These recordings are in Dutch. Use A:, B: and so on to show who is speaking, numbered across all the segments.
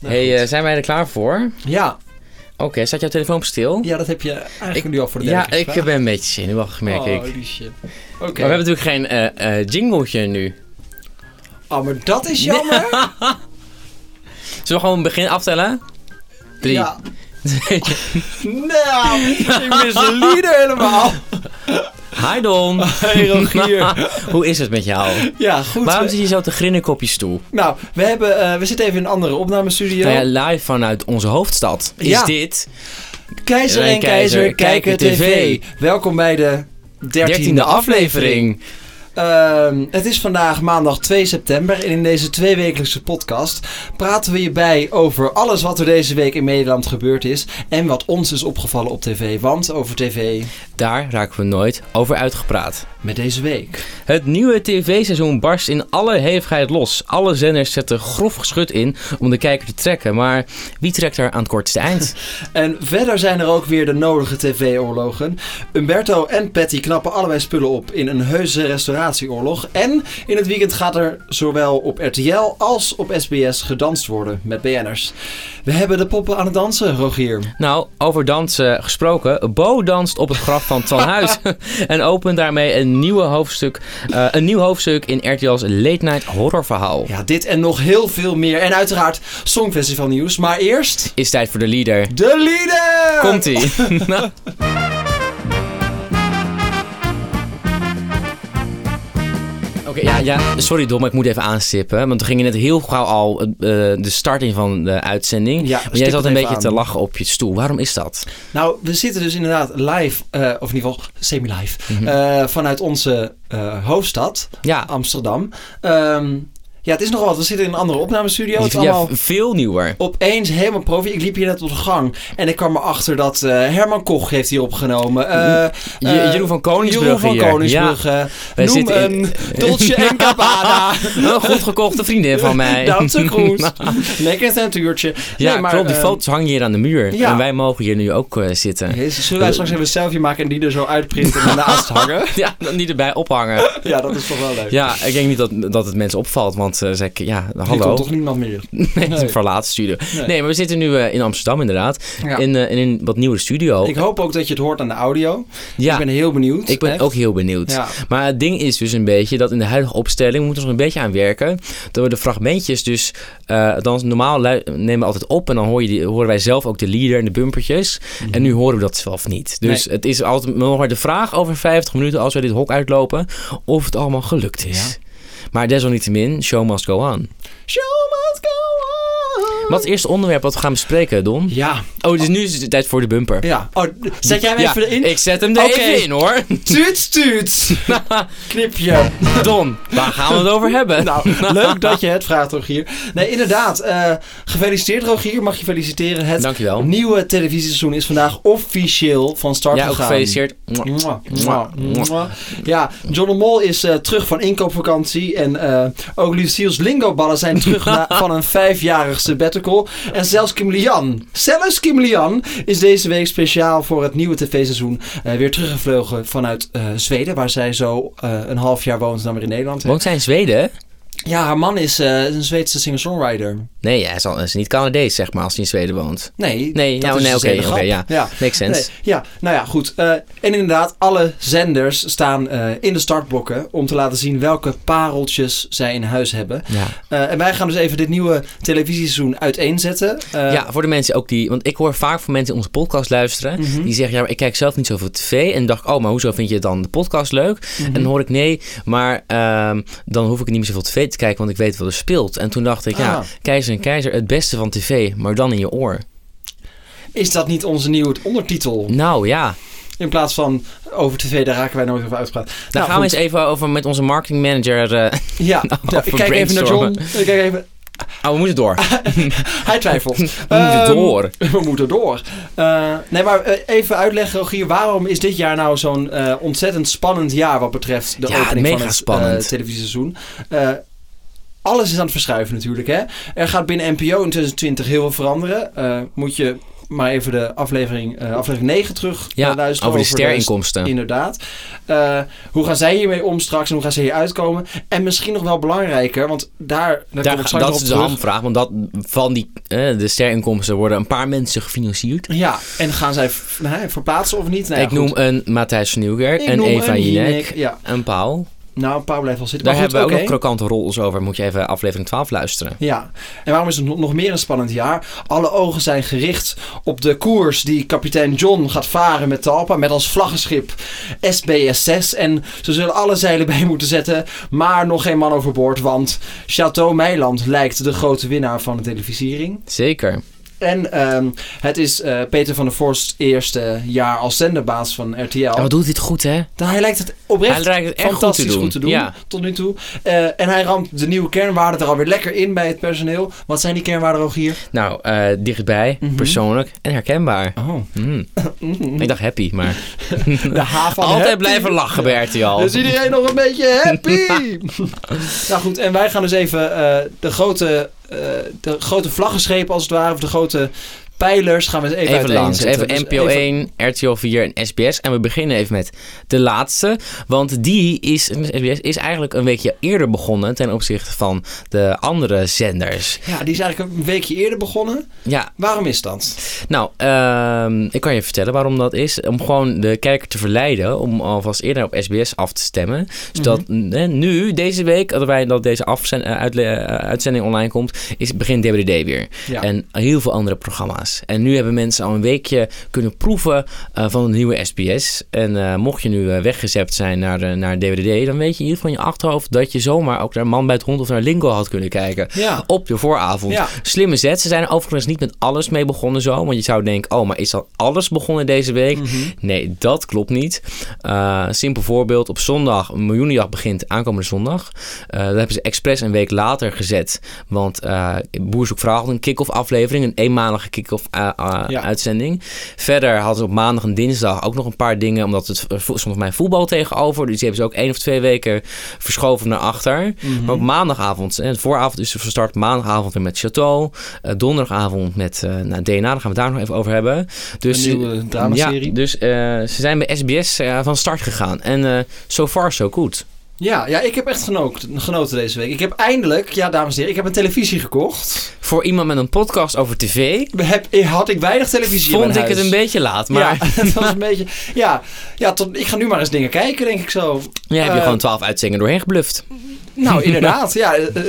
A: Nou
B: hey, eh, zijn wij er klaar voor?
A: Ja,
B: Oké, staat jouw telefoon op stil?
A: ja, dat heb je eigenlijk
B: Ik-
A: nu al voor de derde
B: Ja,
A: keer
B: ik eh,
A: gevraagd.
B: ben een beetje zenuwachtig, merk ik.
A: Holy shit. Oh, Oké.
B: Maar we hebben natuurlijk geen eh eh jingletje nu.
A: Oh, maar dat is jammer.
B: Zullen we gewoon begin aftellen? Drie.
A: Ja. nou, ik mis de leader helemaal.
B: Hi Don!
A: Hey Rogier.
B: Hoe is het met jou?
A: Ja, goed.
B: Waarom
A: We-
B: zit je zo te grinnen kopjes toe?
A: Nou, we, hebben, eh, we zitten even in een andere opnamestudio.
B: Nou ja, live vanuit onze hoofdstad is
A: Ja.
B: dit
A: Keizer en
B: Rijn Keizer,
A: Keizer, kijken
B: kijken
A: tv. Welkom bij de dertiende
B: dertiende
A: aflevering.
B: aflevering.
A: Ehm, het is vandaag maandag 2 september en in deze tweewekelijkse podcast praten we je bij over alles wat er deze week in Nederland gebeurd is en wat ons is opgevallen op tv. Want over tv
B: Daar raken we nooit over uitgepraat.
A: met deze week.
B: Het nieuwe tv-seizoen barst in alle hevigheid los. Alle zenders zetten grof geschut in om de kijker te trekken. Maar wie trekt er aan het kortste eind?
A: En verder zijn er ook weer de nodige tv-oorlogen. Umberto en Patty knappen allebei spullen op in een heuse restauratieoorlog. En in het weekend gaat er zowel op RTL als op SBS gedanst worden met BN'ers. We hebben de poppen aan het dansen, Rogier.
B: nou, over dansen gesproken. Bo danst op het graf van Twan Huis. en opent daarmee een, nieuwe hoofdstuk, eh, een nieuw hoofdstuk in RTL's Late Night horrorverhaal.
A: Ja, dit en nog heel veel meer. En uiteraard Songfestival nieuws. Maar eerst
B: Is tijd voor de leader.
A: de leader!
B: Komt-ie. Oké, ja, ja. Sorry Dom, maar ik moet even aanstippen. Want we gingen net heel gauw al eh, de start in van de uitzending.
A: Ja,
B: maar
A: stip
B: jij
A: het
B: zat een
A: even
B: beetje
A: aan.
B: te lachen op je stoel. Waarom is dat?
A: Nou, we zitten dus inderdaad live, eh, of in ieder geval semi-live,
B: Mhm.
A: eh, vanuit onze eh, hoofdstad,
B: Ja,
A: Amsterdam. Ehm, ja, het is nogal wat. We zitten in een andere opnamestudio. Het is
B: ja,
A: allemaal
B: veel nieuwer.
A: opeens helemaal profi. Ik liep hier net op de gang en ik kwam erachter dat eh, Herman Koch heeft hier opgenomen. Eh,
B: Mhm. Je-
A: eh,
B: Jeroen van Koningsbrugge
A: Jeroen van
B: hier.
A: Koningsbrugge.
B: wij
A: Noem
B: zitten in-
A: een Dolce en Gabbana.
B: Een goed gekochte vriendin van mij.
A: Duitse kroes. Lekker centuurtje.
B: ja,
A: Nee, maar,
B: klopt. Die
A: eh,
B: foto's hangen hier aan de muur.
A: ja.
B: En wij mogen hier nu ook eh, zitten.
A: Jezus, zullen wij straks even een selfie maken en die er zo uitprinten en daarnaast hangen?
B: Ja, dan niet erbij ophangen.
A: Ja, dat is toch wel leuk.
B: Ja, ik denk niet dat, dat het mensen opvalt. Want eh, zeg ik, ja,
A: Hier komt
B: hallo.
A: toch niemand meer.
B: Nee,
A: Nee.
B: verlaten studio.
A: Nee.
B: Nee. maar we zitten nu eh, in Amsterdam inderdaad.
A: Ja.
B: In, eh, in een wat nieuwe studio.
A: Ik hoop ook dat je het hoort aan de audio.
B: ja,
A: Oh. Ik ben heel benieuwd. Echt.
B: ook heel benieuwd.
A: Ja.
B: Maar het ding is dus een beetje dat in de huidige opstelling... we moeten er nog een beetje aan werken... dat we de fragmentjes dus... eh, dan normaal lu- nemen we altijd op... en dan hoor je die, horen wij zelf ook de leader en de bumpertjes.
A: Mhm.
B: En nu horen we dat zelf niet. Dus het is altijd nog maar de vraag over 50 minuten... als we dit hok uitlopen... of het allemaal gelukt is. Maar desalniettemin, show must go on.
A: Show must go on.
B: Wat is het eerste onderwerp wat we gaan bespreken, Don?
A: Ja,
B: Oh, dus nu is het tijd voor de bumper.
A: ja. Oh, zet jij hem
B: Ja,
A: even in?
B: Ik zet hem er
A: Oké.
B: even in hoor.
A: Tuut, tuut. Knipje.
B: Don, waar gaan we het over hebben?
A: Nou, leuk dat je het vraagt, Rogier. Nee, inderdaad. eh, gefeliciteerd, Rogier. Mag je feliciteren. Het
B: Dankjewel.
A: nieuwe televisieseizoen is vandaag officieel van start
B: ja, ook
A: gegaan.
B: gefeliciteerd.
A: Mwah, mwah, mwah. Ja, John de Mol is eh, terug van inkoopvakantie. En eh, ook Lucille's lingoballen zijn terug na- van een vijfjarig sabbatical. En zelfs Kim Lian, zelfs Kim Lian, is deze week speciaal voor het nieuwe tv-seizoen eh, weer teruggevlogen vanuit eh, Zweden. Waar zij zo eh, een half jaar woont en dan weer in Nederland.
B: Woont zij in Zweden?
A: Ja, haar man is eh, een Zweedse singer-songwriter.
B: Nee, hij is, al, hij is niet Canadees, zeg maar, als hij in Zweden woont.
A: Nee,
B: Nee,
A: dat
B: nou,
A: is
B: nee,
A: dus
B: oké,
A: de hele
B: oké, ja.
A: grap. ja.
B: Makes sense.
A: Nee, ja, nou ja, goed. Eh, en inderdaad, alle zenders staan eh, in de startblokken om te laten zien welke pareltjes zij in huis hebben.
B: Ja.
A: Eh, en wij gaan dus even dit nieuwe televisieseizoen uiteenzetten. Eh,
B: ja, voor de mensen ook die... Want ik hoor vaak van mensen die onze podcast luisteren...
A: Mhm.
B: die zeggen, ja, maar ik kijk zelf niet zoveel tv. En dacht, ik, oh, maar hoezo vind je dan de podcast leuk?
A: Mhm.
B: En dan hoor ik, nee, maar ehm, dan hoef ik niet meer zoveel tv te kijken... want ik weet wat er speelt. En toen dacht ik, ja,
A: Ah.
B: keizer en keizer, het beste van tv, maar dan in je oor.
A: Is dat niet onze nieuwe ondertitel?
B: Nou, ja.
A: In plaats van over tv, daar raken wij nooit over uitgepraat. Nou
B: Daar gaan we eens even over met onze marketingmanager. eh
A: Ja, nou, ik kijk even naar John. Ik kijk even.
B: oh, we moeten door. We
A: Hij twijfelt.
B: moeten
A: Ehm,
B: door.
A: We moeten door. Eh, nee, maar eh, even uitleggen, Rogier. Waarom is dit jaar nou zo'n eh, ontzettend spannend jaar wat betreft de
B: Ja,
A: opening van
B: mega
A: het
B: spannend.
A: eh, televisieseizoen? Eh, alles is aan het verschuiven natuurlijk, hè. Er gaat binnen NPO in 2020 heel veel veranderen. Eh, moet je maar even de aflevering, eh, aflevering 9 terug
B: Ja,
A: eh, luisteren.
B: over die
A: de
B: sterinkomsten.
A: Inderdaad. Eh, hoe gaan zij hiermee om straks en hoe gaan zij hier uitkomen? En misschien nog wel belangrijker, want daar, daar, kom ik
B: Daar,
A: straks
B: dat
A: nog
B: is
A: op
B: de
A: terug.
B: hamvraag, want dat, van die, eh, de sterinkomsten worden een paar mensen gefinancierd.
A: Ja, en gaan zij v- hè, verplaatsen of niet? Nou ja,
B: ik
A: goed.
B: noem een Matthijs van Nieuwkerk,
A: Ik
B: een
A: noem
B: Eva
A: een
B: Jinek,
A: Jinek, Ja.
B: een Paul.
A: Nou, een paar blijft wel zitten.
B: Daar
A: maar goed,
B: hebben we ook
A: oké.
B: nog krokante rols over. Moet je even aflevering 12 luisteren.
A: Ja, en waarom is het nog nog meer een spannend jaar? Alle ogen zijn gericht op de koers die kapitein John gaat varen met Talpa. Met als vlaggenschip SBS6. En ze zullen alle zeilen bij moeten zetten. Maar nog geen man overboord, want Chateau Meiland lijkt de grote winnaar van de televisiering.
B: Zeker.
A: En ehm, het is eh, Peter van der Vorst's eerste jaar als zenderbaas van RTL.
B: En wat doet dit goed, hè?
A: Nou, hij lijkt het oprecht
B: Hij lijkt het echt goed te
A: fantastisch
B: doen.
A: goed te doen,
B: Ja.
A: tot nu toe. Eh, en hij ramt de nieuwe kernwaarden er alweer lekker in bij het personeel. Wat zijn die kernwaarden, Rogier?
B: Nou, eh, dichtbij,
A: Mhm.
B: persoonlijk en herkenbaar.
A: Oh.
B: Mm. Ik dacht happy, maar
A: De H van
B: altijd
A: happy.
B: blijven lachen bij RTL.
A: Dus iedereen nog een beetje happy. nou goed, en wij gaan dus even eh, de, grote, eh, de grote vlaggenschepen als het ware, of de grote pijlers, gaan we eens even,
B: Even langs.
A: uiteenzetten.
B: Even
A: Dus
B: NPO 1, RTL 4 en SBS. En we beginnen even met de laatste. Want die is, SBS is eigenlijk een weekje eerder begonnen ten opzichte van de andere zenders.
A: Ja, die is eigenlijk een weekje eerder begonnen.
B: Ja,
A: Waarom is dat?
B: nou, ehm, ik kan je vertellen waarom dat is. Om gewoon de kijker te verleiden om alvast eerder op SBS af te stemmen. Zodat
A: Mhm.
B: eh, nu, deze week, dat, wij, dat deze afzen- eh, uitle- eh, uitzending online komt, is begin DWD weer.
A: Ja.
B: En heel veel andere programma's. En nu hebben mensen al een weekje kunnen proeven eh, van de nieuwe SBS. En eh, mocht je nu eh, weggezept zijn naar, eh, naar DWDD, dan weet je in ieder geval in je achterhoofd dat je zomaar ook naar Man bij het Hond of naar Lingo had kunnen kijken.
A: ja.
B: Op de vooravond.
A: Ja.
B: Slimme zet. Ze zijn er overigens niet met alles mee begonnen zo. Want je zou denken, oh, maar is dan alles begonnen deze week?
A: Mhm.
B: Nee, dat klopt niet. Eh, Een simpel voorbeeld. Op zondag, miljoenenjacht begint aankomende zondag. Eh dat hebben ze expres een week later gezet. Want eh Boer Zoekt Vrouw had een kick-off aflevering. Een eenmalige kick-off eh, eh,
A: Ja.
B: uitzending. Verder hadden ze op maandag en dinsdag ook nog een paar dingen. Omdat het eh, vo- stond mijn voetbal tegenover. Dus die hebben ze ook één of twee weken verschoven naar achter.
A: Mhm.
B: Maar op maandagavond, en de vooravond is van start maandagavond weer met Chateau. Eh, donderdagavond met eh nou, DNA, daar gaan we het daar nog even over hebben. Dus,
A: Een nieuwe dramaserie.
B: Ja, dus eh, ze zijn bij SBS eh, van start gegaan. En eh, so far so good.
A: Ja, ja, ik heb echt genoten, genoten deze week. Ik heb eindelijk, ja dames en heren, ik heb een televisie gekocht.
B: Voor iemand met een podcast over tv
A: We Heb, had ik weinig televisie in
B: vond
A: mijn
B: ik het
A: huis.
B: een beetje laat. Maar ja,
A: Ja, dat was een beetje... Ja, ja tot, ik ga nu maar eens dingen kijken, denk ik zo.
B: heb je
A: Eh,
B: gewoon twaalf uitzendingen doorheen gebluft.
A: Nou, inderdaad, ja... eh, eh,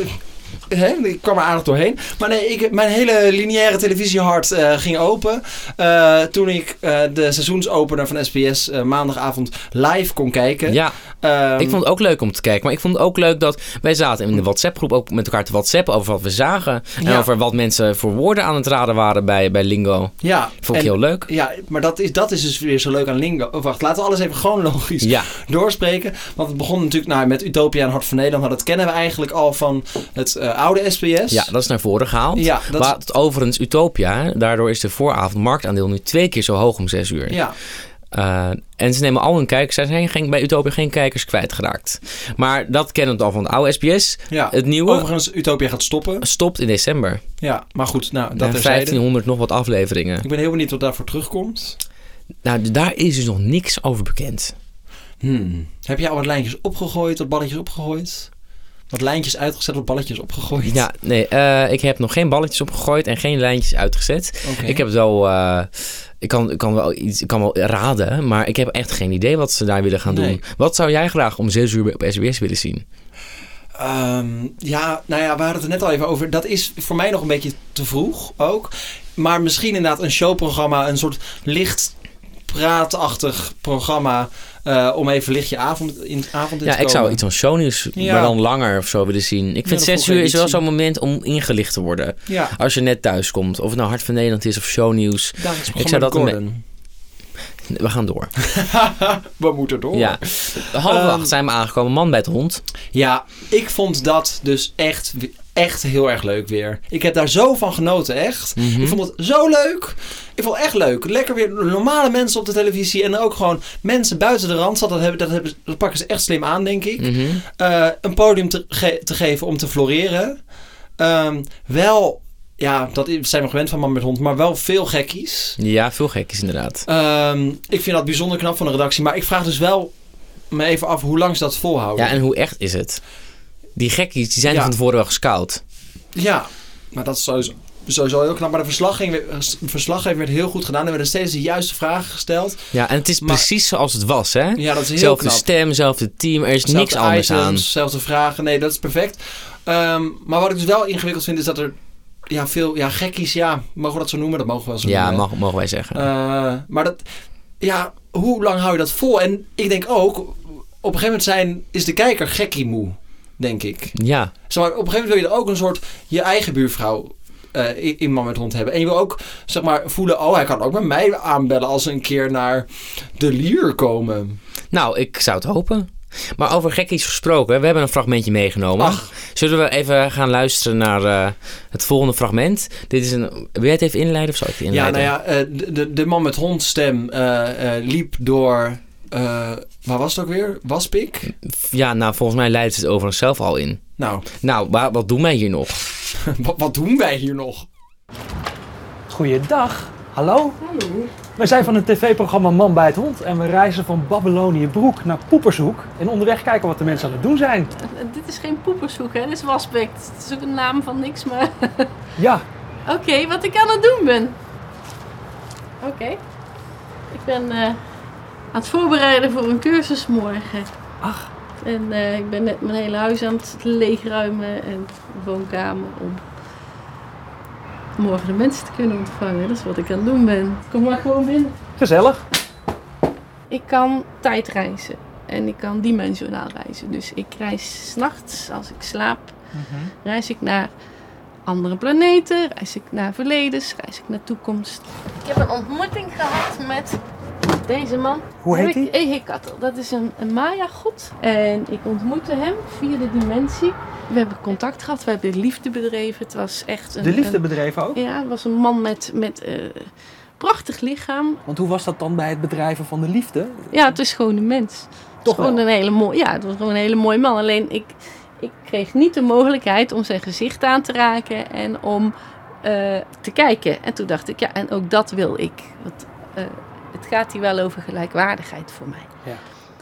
A: hè, ik kwam er aardig doorheen. Maar nee, ik, mijn hele lineaire televisiehart eh, ging open. eh, toen ik eh, de seizoensopener van SBS eh, maandagavond live kon kijken.
B: Ja,
A: Ehm,
B: ik vond het ook leuk om te kijken. Maar ik vond het ook leuk dat wij zaten in de WhatsApp-groep ook met elkaar te WhatsAppen over wat we zagen. En
A: Ja.
B: over wat mensen voor woorden aan het raden waren bij, bij Lingo.
A: ja,
B: Vond ik
A: en-
B: heel leuk.
A: Ja, maar dat is, dat is dus weer zo leuk aan Lingo. Oh, wacht, laten we alles even chronologisch
B: Ja,
A: doorspreken. Want het begon natuurlijk nou, met Utopia en Hart van Nederland. Maar dat kennen we eigenlijk al van het eh, oude SBS.
B: ja, dat is naar voren gehaald.
A: ja, dat
B: maar het, overigens, Utopia, hè, daardoor is de vooravond marktaandeel nu twee keer zo hoog om zes uur.
A: ja.
B: Eh, en ze nemen al hun kijkers, zij zijn geen, bij Utopia geen kijkers kwijtgeraakt. Maar dat kennen we al van de oude SBS.
A: ja.
B: Het nieuwe
A: Overigens, Utopia gaat stoppen.
B: stopt in december.
A: Ja, maar goed, nou,
B: Dat
A: dat
B: er
A: terzijde.
B: 1500 nog wat afleveringen.
A: Ik ben heel benieuwd wat daarvoor terugkomt.
B: Nou, d- daar is dus nog niks over bekend.
A: Hmm. Heb jij al wat lijntjes opgegooid, wat balletjes opgegooid? Wat lijntjes uitgezet, wat balletjes opgegooid?
B: Ja, nee, eh, ik heb nog geen balletjes opgegooid en geen lijntjes uitgezet.
A: Oké.
B: Ik heb wel, eh, ik, kan, ik kan wel iets, ik kan wel raden, maar ik heb echt geen idee wat ze daar willen gaan
A: Nee.
B: doen. Wat zou jij graag om 6 uur op SBS willen zien?
A: Ehm, ja, nou ja, we hadden het er net al even over. Dat is voor mij nog een beetje te vroeg ook. Maar misschien inderdaad een showprogramma, een soort licht praatachtig programma. eh, om even licht je avond in avond in
B: Ja,
A: te
B: ik zou
A: komen.
B: iets van shownieuws,
A: Ja.
B: maar dan langer of zo willen zien. Ik
A: Ja,
B: vind
A: dat
B: 6
A: vroeg
B: uur
A: ik
B: is wel
A: niet
B: zo'n moment om ingelicht te worden.
A: Ja,
B: Als je net thuis komt, of het nou Hart van Nederland is of shownieuws.
A: daar is
B: Ik
A: ik
B: zou
A: zou
B: dat een
A: Gordon.
B: We gaan door.
A: we moeten door.
B: Ja. Half
A: Ehm,
B: acht zijn we aangekomen. Man bij het hond.
A: Ja, ik vond dat dus echt, echt heel erg leuk weer. Ik heb daar zo van genoten, echt.
B: Mhm.
A: Ik vond het zo leuk. Ik vond het echt leuk. Lekker weer normale mensen op de televisie. En ook gewoon mensen buiten de randstad. Dat, hebben, dat, hebben, dat pakken ze echt slim aan, denk ik.
B: Mhm.
A: Eh, een podium te, ge- te geven om te floreren. Ehm, wel ja, dat is- zijn we gewend van man met hond, maar wel veel gekkies.
B: Ja, veel gek is inderdaad.
A: Ehm, ik vind dat bijzonder knap van de redactie. Maar ik vraag dus wel me even af hoe lang ze dat volhouden.
B: Ja, en hoe echt is het? Die gekkies die zijn
A: Oh, Ja.
B: van tevoren wel gescout.
A: Ja, maar dat is sowieso, sowieso heel knap. Maar de verslaggeving, verslaggeving werd heel goed gedaan. Er werden steeds de juiste vragen gesteld.
B: Ja, en het is
A: Maar-
B: precies zoals het was, hè?
A: Ja, dat is heel
B: Zelfde
A: knap.
B: stem, zelfde team, er is niks
A: Zelfde
B: anders
A: items,
B: aan.
A: Zelfde vragen. Nee, dat is perfect. Ehm, maar wat ik dus wel ingewikkeld vind, is dat er ja, veel ja, gekkies, ja, mogen we dat zo noemen? Dat mogen we wel zo
B: Ja,
A: noemen.
B: mag, mogen wij zeggen.
A: Eh, maar dat, ja, hoe lang hou je dat vol? En ik denk ook, op een gegeven moment zijn, is de kijker gekkie moe, denk ik.
B: ja,
A: Zeg maar, op een gegeven moment wil je er ook een soort je eigen buurvrouw eh, in- in man met hond hebben. En je wil ook zeg maar, voelen, oh hij kan ook bij mij aanbellen als ze een keer naar de lier komen.
B: nou, ik zou het hopen. Maar over gekkies gesproken, we hebben een fragmentje meegenomen.
A: Ach.
B: Zullen we even gaan luisteren naar eh, het volgende fragment? Dit is een... Wil jij het even inleiden of zal ik het
A: Ja,
B: inleiden?
A: nou ja, eh, de- de, de man met hond stem eh, eh, liep door, eh, waar was het ook weer? Waspik?
B: Ja, nou, volgens mij leidt het overigens zelf al in.
A: Nou,
B: Nou, wa- wat doen wij hier nog?
A: wat, wat doen wij hier nog?
C: Goeiedag. Hallo. Hallo. We zijn van het tv-programma Man bij het Hond en we reizen van Babyloniëbroek naar Poepershoek. En onderweg kijken wat de mensen aan het doen zijn.
D: Dit is geen poepershoek, hè? Dit is waspik. Het is ook een naam van niks, maar...
C: Ja,
D: Oké, wat ik aan het doen ben. Oké. Ik ben eh, aan het voorbereiden voor een cursus morgen.
C: Ach.
D: En eh, ik ben net mijn hele huis aan het leegruimen en de woonkamer om morgen de mensen te kunnen ontvangen. Dat is wat ik aan het doen ben. Kom maar gewoon binnen.
C: gezellig.
D: Ik kan tijdreizen en ik kan dimensionaal reizen. Dus ik reis s'nachts als ik slaap
C: Mhm.
D: reis ik naar andere planeten, reis ik naar verledens, reis ik naar toekomst. Ik heb een ontmoeting gehad met deze man.
C: Hoe heet hij?
D: Ehekatl. Dat is een, een Maya-god. En ik ontmoette hem via de dimensie. We hebben contact gehad, we hebben liefde bedreven. Het was echt een...
C: De liefde bedreven ook.
D: een- ja, het was een man met... met eh, prachtig lichaam.
C: Want hoe was dat dan bij het bedrijven van de liefde?
D: Ja, het is gewoon een mens. Het
C: Toch
D: is gewoon
C: wel.
D: een hele mooi, ja, het was gewoon een hele mooie man. Alleen ik, ik kreeg niet de mogelijkheid om zijn gezicht aan te raken en om eh, te kijken. En toen dacht ik, ja, en ook dat wil ik. Want eh, het gaat hier wel over gelijkwaardigheid voor mij.
C: Ja.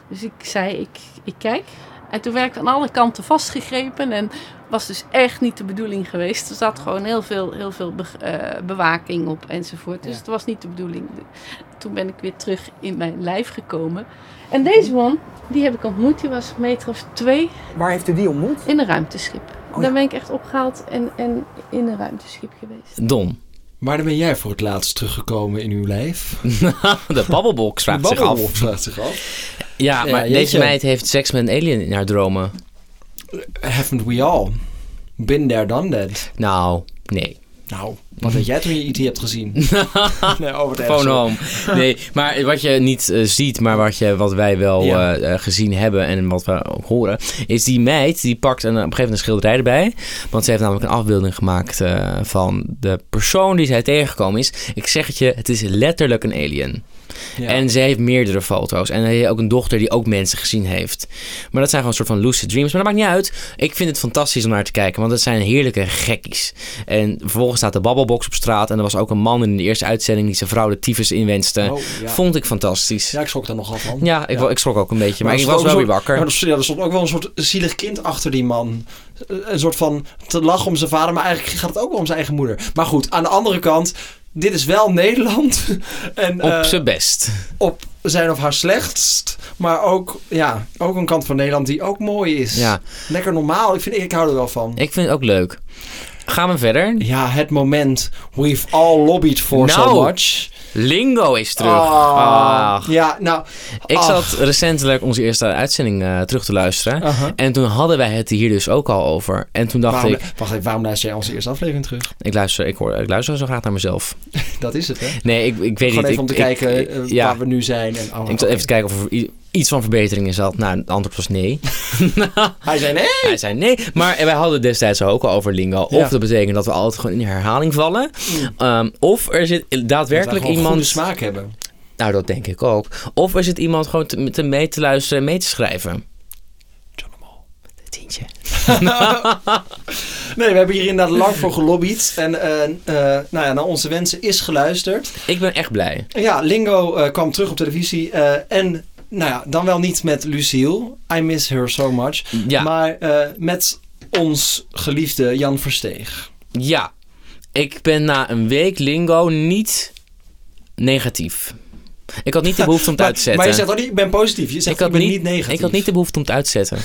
D: Dus ik zei, ik, ik kijk. En toen werd ik aan alle kanten vastgegrepen en was dus echt niet de bedoeling geweest. Er zat gewoon heel veel, heel veel be- eh, bewaking op enzovoort. Dus
C: Ja.
D: het was niet de bedoeling. Toen ben ik weer terug in mijn lijf gekomen. En deze man, die heb ik ontmoet. Die was een meter of twee
C: Waar heeft u die ontmoet?
D: in een ruimteschip.
C: ja.
D: Daar ben ik echt opgehaald en, en in een ruimteschip geweest.
B: Don.
A: Maar dan ben jij voor het laatst teruggekomen in uw lijf.
B: De babbelbox vraagt
A: De
B: zich af.
A: babbelwolf vraagt zich af.
B: Ja,
A: Ja,
B: maar
A: jeetje.
B: deze meid heeft seks met een alien in haar dromen.
A: Haven't we all? Been there, done that.
B: Nou, nee.
A: Nou, wat weet jij toen je IT hebt gezien? nee, over het
B: Phone home. Nee, maar wat je niet eh, ziet, maar wat, je, wat wij wel
A: Ja.
B: eh, eh, gezien hebben en wat we ook horen, is die meid die pakt een, op een gegeven moment een schilderij erbij. Want ze heeft namelijk een afbeelding gemaakt eh, van de persoon die zij tegengekomen is. Ik zeg het je, het is letterlijk een alien.
A: Ja.
B: En ze heeft meerdere foto's. En hij heeft ook een dochter die ook mensen gezien heeft. Maar dat zijn gewoon een soort van lucid dreams. Maar dat maakt niet uit. Ik vind het fantastisch om naar te kijken. Want het zijn heerlijke gekkies. En vervolgens staat de babbelbox op straat. En er was ook een man in de eerste uitzending die zijn vrouw de tyfus inwenste.
A: Oh, ja.
B: Vond ik fantastisch.
A: ja,
B: Ja,
A: ik schrok daar nogal van.
B: ik, wa- ik schrok ook een beetje. Maar,
A: er
B: ik
A: stond
B: was wel
A: ook
B: weer
A: een
B: wakker.
A: soort- Maar er stond- ja, er stond ook wel een soort zielig kind achter die man. Eh, Een soort van te lachen om zijn vader, maar eigenlijk gaat het ook wel om zijn eigen moeder. Maar goed, aan de andere kant, dit is wel Nederland. en,
B: Op
A: eh,
B: zijn best.
A: op zijn of haar slechtst. Maar ook, ja, ook een kant van Nederland die ook mooi is.
B: Ja.
A: Lekker normaal. Ik, vind, ik hou er wel van.
B: Ik vind het ook leuk. Gaan we verder.
A: Ja, het moment. We've all lobbied for so
B: Nou,
A: much.
B: Lingo is terug.
A: Ah.
B: Ach.
A: Ja, nou.
B: Ik
A: ach.
B: zat recentelijk onze eerste uitzending eh, terug te luisteren.
A: Aha.
B: En toen hadden wij het hier dus ook al over. En toen dacht
A: Waarom,
B: ik,
A: Wacht even, waarom luister jij onze eerste aflevering terug?
B: ik luister, ik, hoor, ik luister zo graag naar mezelf.
A: Dat is het, hè?
B: Nee, ik, ik weet
A: Gewoon
B: niet.
A: even om te
B: ik, ik-
A: kijken eh,
B: ja,
A: waar we nu zijn. En, oh,
B: ik zat
A: oké.
B: even te kijken of er i- iets van verbetering in zat. Nou, het antwoord was nee.
A: Hij zei nee.
B: Hij zei nee. Maar wij hadden destijds ook al over lingo. Of
A: Ja.
B: dat betekent dat we altijd gewoon in herhaling vallen. Ehm, of er zit daadwerkelijk
A: Dat wij gewoon goede
B: iemand...
A: smaak hebben.
B: Nou, dat denk ik ook. Of er zit iemand gewoon te, te mee te luisteren en mee te schrijven.
A: John de Mol.
B: Tientje.
A: nee, we hebben hier inderdaad lang voor gelobbyd. En eh, eh, nou ja, naar onze wensen is geluisterd.
B: Ik ben echt blij.
A: Ja, Lingo eh, kwam terug op televisie. eh, en nou ja, dan wel niet met Lucille. I miss her so much.
B: Ja,
A: Maar eh, met ons geliefde Jan Versteeg.
B: ja. Ik ben na een week lingo niet negatief. Ik had niet de behoefte om het uit te zetten.
A: Maar, maar je zegt al niet, ik ben positief. Je zegt, ik,
B: had
A: ben niet, negatief.
B: Ik had niet de behoefte om het uit te zetten.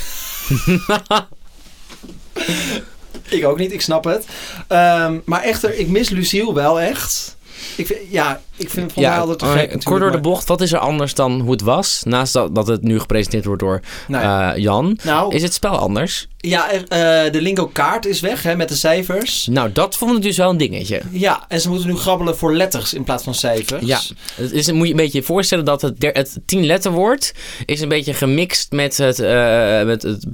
A: Ik ook niet, ik snap het. Ehm, maar echter, ik mis Lucille wel echt. Ik vind, ja, ik vind Van ja, altijd te
B: eh,
A: gek
B: kort
A: natuurlijk,
B: door de
A: maar-
B: bocht, wat is er anders dan hoe het was? Naast dat, dat het nu gepresenteerd wordt door
A: Nou, ja.
B: eh, Jan.
A: nou,
B: Is het spel anders?
A: ja, er- eh, de lingo kaart is weg hè, met de cijfers.
B: Nou, dat vond ik dus wel een dingetje.
A: Ja, en ze moeten nu grabbelen voor letters in plaats van cijfers. Nou,
B: Ja, het is, moet je een beetje je voorstellen dat het, der- het tien letterwoord is een beetje gemixt met het, eh, met het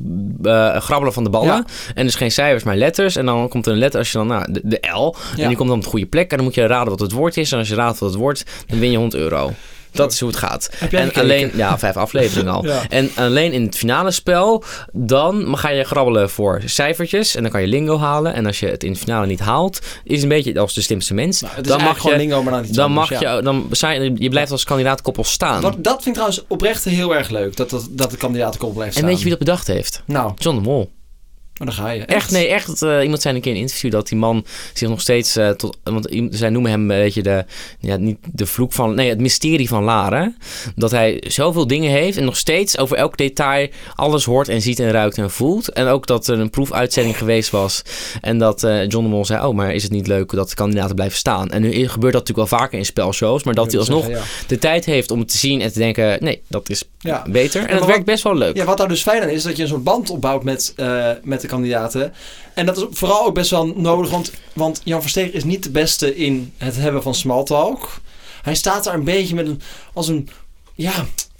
B: eh, grabbelen van de ballen.
A: Ja.
B: En dus geen cijfers, maar letters. En dan komt er een letter als je dan, nou, de, de L.
A: Ja.
B: En die komt dan op de goede plek. En dan moet je raden wat het woord is. En als je raadt wat het woord, dan win je 100 euro. Dat is hoe het gaat.
A: Heb jij
B: en
A: gekeken?
B: alleen, ja, vijf afleveringen al.
A: Ja.
B: En alleen in het finale spel, dan ga je grabbelen voor cijfertjes. En dan kan je lingo halen. En als je het in het finale niet haalt, is een beetje als de slimste mens.
A: Nou, het is
B: dan mag
A: eigenlijk
B: je
A: gewoon lingo, maar dan niet
B: dan mag je, dan zijn, je blijft als kandidaatkoppel staan.
A: Wat, dat vind ik trouwens oprecht heel erg leuk, dat, dat, dat de kandidatenkoppel blijft
B: en
A: staan.
B: weet je wie dat bedacht heeft?
A: Nou, maar
B: John de Mol.
A: dan ga je.
B: Echt, nee, echt. eh, iemand zei een keer in een interview dat die man zich nog steeds eh, tot. Want i- zij noemen hem, eh, weet je, de. Ja, niet de vloek van. Nee, het mysterie van Laren. Dat hij zoveel dingen heeft en nog steeds over elk detail alles hoort en ziet en ruikt en voelt. En ook dat er een proefuitzending geweest was. En dat eh, John de Mol zei: Oh, maar is het niet leuk dat de kandidaten blijven staan? En nu gebeurt dat natuurlijk wel vaker in spelshows. Maar dat hij alsnog
A: Ja.
B: de tijd heeft om het te zien en te denken: nee, dat is
A: Ja.
B: beter. En
A: maar
B: dat
A: wat-
B: werkt best wel leuk.
A: Ja, wat daar dus fijn aan is, dat je een soort band opbouwt met, eh, met de kandidaten. En dat is vooral ook best wel nodig, want, want Jan Versteeg is niet de beste in het hebben van smalltalk. Hij staat daar een beetje met een, als een, ja,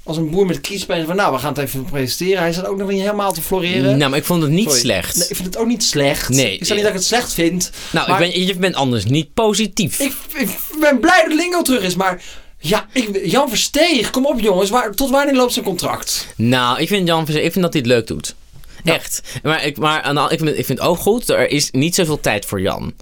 A: als een boer met kiespijn van nou, we gaan het even presenteren. Hij staat ook nog niet helemaal te floreren.
B: nou, maar ik vond het niet
A: Sorry.
B: slecht.
A: Nee, ik vind het ook niet slecht.
B: Nee.
A: Ik zeg niet dat ik het slecht vind.
B: nou,
A: maar-
B: ik ben, je bent anders niet positief.
A: Ik, ik ben blij dat Lingo terug is, maar ja, ik, Jan Versteeg, kom op jongens. Waar, tot wanneer loopt zijn contract?
B: Nou, ik vind Jan Verzeer- ik vind dat hij het leuk doet.
A: Nou.
B: Echt. Maar, ik, maar aan de an- ik, vind, ik vind het ook goed, er is niet zoveel tijd voor Jan.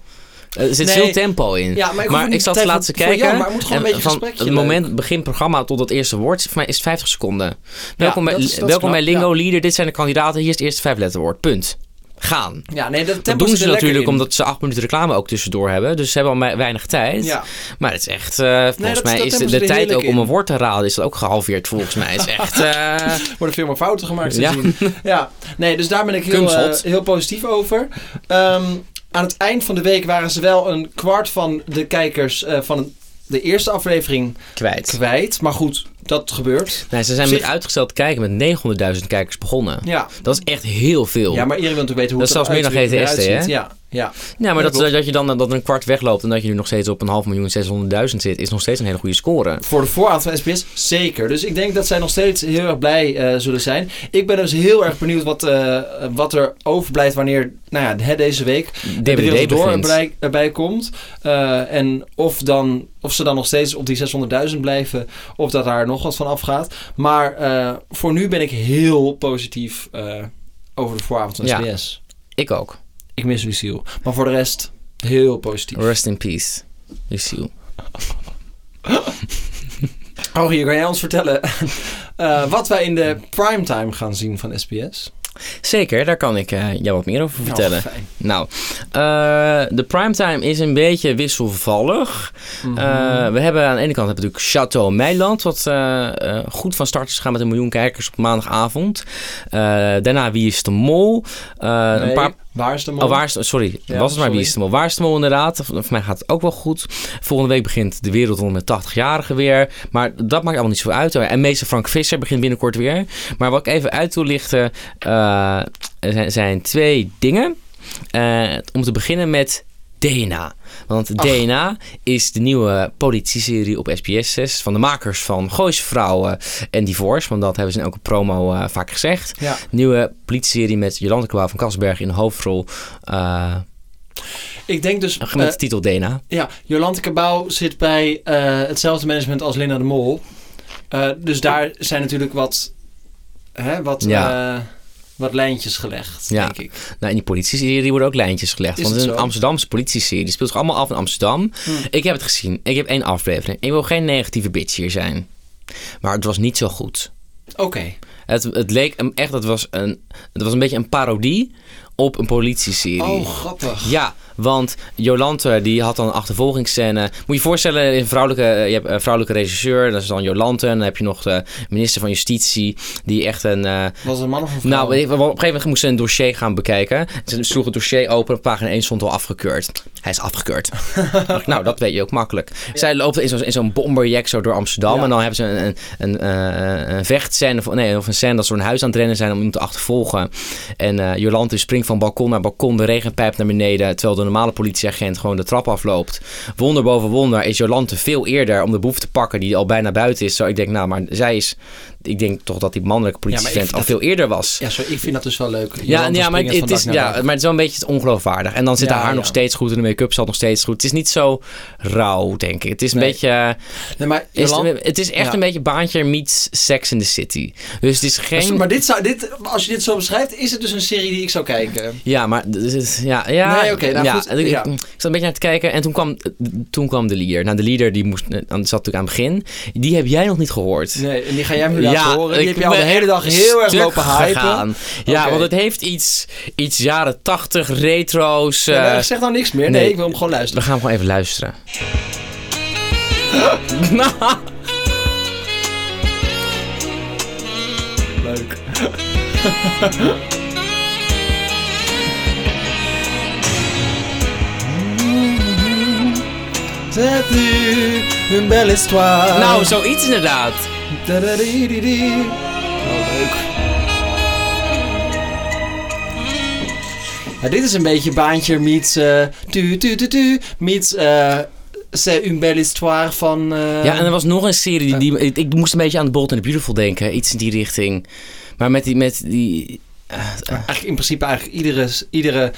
B: Er zit
A: Nee.
B: veel tempo in.
A: Ja, maar ik hoef niet
B: ik zat
A: tijd
B: laatst te
A: voor- voor
B: kijken.
A: Jan, maar het moet gewoon
B: en
A: een beetje
B: van
A: gesprekje
B: Het
A: leuk.
B: moment, begin programma tot het eerste woord, voor mij is het 50 seconden. Welkom,
A: dat
B: bij,
A: is- dat is
B: welkom
A: knap,
B: bij Lingo Leader, dit zijn de kandidaten, hier is het eerste vijfletterwoord. Punt. Gaan.
A: Ja, nee, dat
B: Dat
A: tempo
B: doen
A: zit
B: ze
A: er lekker
B: natuurlijk
A: in.
B: omdat ze acht minuten reclame ook tussendoor hebben. Dus ze hebben al me- weinig tijd.
A: Ja.
B: Maar het is echt, eh, volgens
A: dat-
B: mij
A: dat
B: is de,
A: hebben
B: de
A: ze er
B: tijd
A: heerlijk
B: ook om
A: in.
B: een woord te raden is dat ook gehalveerd volgens mij. Het is echt, eh,
A: worden veel meer fouten gemaakt.
B: Ja.
A: Ja. ja. Nee, dus daar ben ik heel, eh,
B: Kunstschot.
A: heel positief over. Ehm, aan het eind van de week waren ze wel een kwart van de kijkers eh, van de eerste aflevering
B: kwijt.
A: kwijt. Maar goed, dat gebeurt.
B: Nee, ze zijn
A: Op zich-
B: met uitgesteld kijken met 900.000 kijkers begonnen.
A: Ja.
B: Dat is echt heel veel.
A: Ja, maar iedereen wil natuurlijk weten hoe
B: Dat is
A: het
B: zelfs meer dan
A: eruit-
B: GTSD,
A: eruit ziet.
B: hè?
A: Ja,
B: Ja,
A: ja.
B: maar
A: Ja,
B: dat,
A: klopt.
B: dat je dan dat er een kwart wegloopt en dat je nu nog steeds op een half miljoen 600.000 zit, is nog steeds een hele goede score.
A: Voor de voorraad van SBS zeker. Dus ik denk dat zij nog steeds heel erg blij eh, zullen zijn. Ik ben dus heel erg benieuwd wat, eh, wat er overblijft wanneer nou ja, hè, deze week
B: DBD
A: DBD door
B: begint.
A: erbij, erbij komt. Eh, en of, dan, of ze dan nog steeds op die 600.000 blijven. Of dat daar nog wat van afgaat. Maar eh, voor nu ben ik heel positief eh, over de vooravond van
B: Ja.
A: SBS.
B: Ik ook.
A: Ik mis Lucille. Maar voor de rest heel positief.
B: Rest in peace. Lucille.
A: Oh, hier kan jij ons vertellen eh, wat wij in de primetime gaan zien van SBS?
B: Zeker, daar kan ik eh, jou wat meer over vertellen.
A: Nou, fijn.
B: Nou, eh, de primetime is een beetje wisselvallig.
A: Mhm.
B: Eh, we hebben aan de ene kant hebben we natuurlijk Chateau Meiland, wat eh, eh, goed van start is gaan met een miljoen kijkers op maandagavond. Eh, daarna Wie is de Mol? Eh,
A: Nee,
B: een paar
A: Waar is de man?
B: Oh, waar is de- sorry,
A: Ja,
B: was het maar
A: sorry.
B: Wie is de Mol? Waar is de Mol inderdaad? Voor voor mij gaat het ook wel goed. Volgende week begint de wereld rond met 80-jarigen weer. Maar dat maakt allemaal niet zo uit. En meester Frank Visser begint binnenkort weer. Maar wat ik even uit wil lichten eh, er zijn, zijn twee dingen. Eh, om te beginnen met DNA. Want
A: Ach.
B: DNA is de nieuwe politie-serie op SBS 6 van de makers van Gooise Vrouwen en Divorce. Want dat hebben ze in elke promo eh, vaak gezegd.
A: Ja.
B: Nieuwe politie-serie met Jolante Kwaal van Kasberg in de hoofdrol. eh,
A: Ik denk dus...
B: met de
A: eh,
B: titel DNA.
A: ja, Jolante Cabau zit bij eh, hetzelfde management als Linda de Mol. Eh, dus daar zijn natuurlijk wat... Hè, wat
B: Ja.
A: eh, wat lijntjes gelegd,
B: Ja.
A: denk ik.
B: Nou, in die politieserie die worden ook lijntjes gelegd.
A: Is
B: want het is
A: het
B: een
A: zo? Hmm.
B: Amsterdamse politieserie. Die speelt zich allemaal af in Amsterdam. Ik heb het gezien. Ik heb één aflevering. Ik wil geen negatieve bitch hier zijn. Maar het was niet zo goed.
A: Oké.
B: Het, het leek hem echt, het was, een, het was een beetje een parodie op een politieserie.
A: Oh, grappig.
B: Ja, want Jolante die had dan een achtervolgingsscène. Moet je je voorstellen, een vrouwelijke, eh, je hebt een vrouwelijke regisseur, dat is dan Jolante. En dan heb je nog de minister van Justitie, die echt een... eh,
A: Was een man of een vrouw?
B: nou, op een gegeven moment moest ze een dossier gaan bekijken. Ze sloeg het dossier open, op pagina 1 stond al afgekeurd. Hij is afgekeurd. Dacht ik, nou, dat weet je ook makkelijk. Zij loopt in zo'n in zo'n bomberjack zo door Amsterdam.
A: Ja.
B: En dan hebben ze een, een, een, eh, een vechtscène, of- nee, of een scène dat ze door een huis aan het rennen zijn om iemand te achtervolgen. En eh Jolante springt van balkon naar balkon, de regen pijpt naar beneden. Terwijl de normale politieagent gewoon de trap afloopt. Wonder boven wonder is Jolante veel eerder om de boef te pakken die al bijna buiten is. Zo, ik denk, nou, maar zij is... Ik denk toch dat die mannelijke
A: maar ik
B: politieagent
A: vind
B: al
A: dat-
B: veel eerder was.
A: Ja, sorry, ik vind dat dus wel leuk.
B: Ja, ja, maar, het is, ja
A: ja,
B: maar het is wel een beetje het ongeloofwaardig. En dan zit
A: Ja,
B: haar haar nog
A: ja.
B: steeds goed en de make-up zat nog steeds goed. Het is niet zo rauw, denk ik. Het is een
A: Nee.
B: beetje... eh,
A: nee, maar,
B: is
A: Jolan-
B: het, het is echt
A: Ja.
B: een beetje baantje meets Sex in the City. Dus het is geen...
A: Maar dit zou, dit, als je dit zo beschrijft, is het dus een serie die ik zou kijken.
B: Ja, maar... het is- Ja, ja,
A: Nee, oké, nou
B: ja,
A: goed,
B: En ik,
A: ja.
B: ik zat een beetje naar te kijken en toen kwam, toen kwam de leader. Nou, de leader die moest, eh, aan- zat natuurlijk aan het begin. Die heb jij nog niet gehoord.
A: Nee, en die ga jij me nu laten horen. Die
B: ik
A: heb je al de
B: ben
A: hele dag heel erg
B: stuk
A: lopen hypen.
B: gegaan. Ja,
A: Oké.
B: want het heeft iets, iets jaren tachtig, retro's.
A: Ja,
B: eh,
A: maar ik zeg nou niks meer. Nee,
B: nee.
A: ik wil hem gewoon
B: We
A: luisteren.
B: gaan gewoon even luisteren.
A: Leuk. C'est u une belle histoire.
B: Nou, zoiets inderdaad.
A: Eh. Tadadididi. Oh, leuk. Ja, dit is een beetje baantje meets... eh tu, tu, tu, tu, meets... eh C'est une belle histoire van... eh,
B: ja, en er was nog een serie die, die- ik, ik moest een beetje aan The Bold and the Beautiful denken. Iets in die richting. Maar met die, met die
A: Eigenlijk in principe eigenlijk iedere, iedere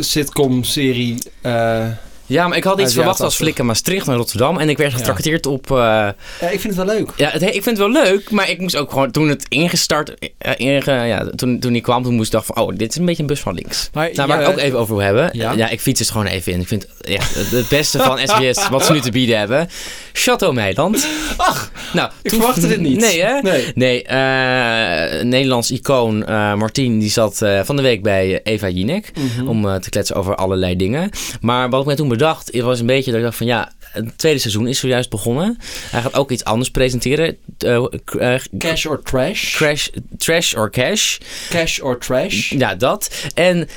A: sitcom-serie... eh,
B: ja, maar ik had
A: Uit
B: iets
A: de
B: verwacht als
A: jaren 80.
B: Flikken Maastricht naar Rotterdam. En ik werd getrakteerd op... eh,
A: ja, ik vind het wel leuk.
B: ja, het, ik vind het wel leuk, maar ik moest ook gewoon... Toen het ingestart... eh, inge- ja, toen, toen die kwam, toen moest ik dachten van... Oh, dit is een beetje een bus van links.
A: Maar,
B: Nou, waar
A: ja,
B: ik ook even over wil hebben.
A: Ja?
B: Ja? ik fiets het gewoon even in. Ik vind ja, het het beste van SBS wat ze nu te bieden hebben. Chateau Meiland.
A: Ach,
B: Nou,
A: ik verwachtte dit niet.
B: Nee, hè?
A: Nee.
B: Nee, eh, Nederlands icoon eh Martien die zat eh, van de week bij eh, Eva Jinek
A: Mhm.
B: om eh, te kletsen over allerlei dingen. Maar wat ik mij toen bedacht, het was een beetje dat ik dacht van ja, het tweede seizoen is zojuist begonnen. Hij gaat ook iets anders presenteren. Eh, k- eh,
A: Cash or trash.
B: Crash, trash or cash.
A: Cash or trash.
B: Ja, dat. En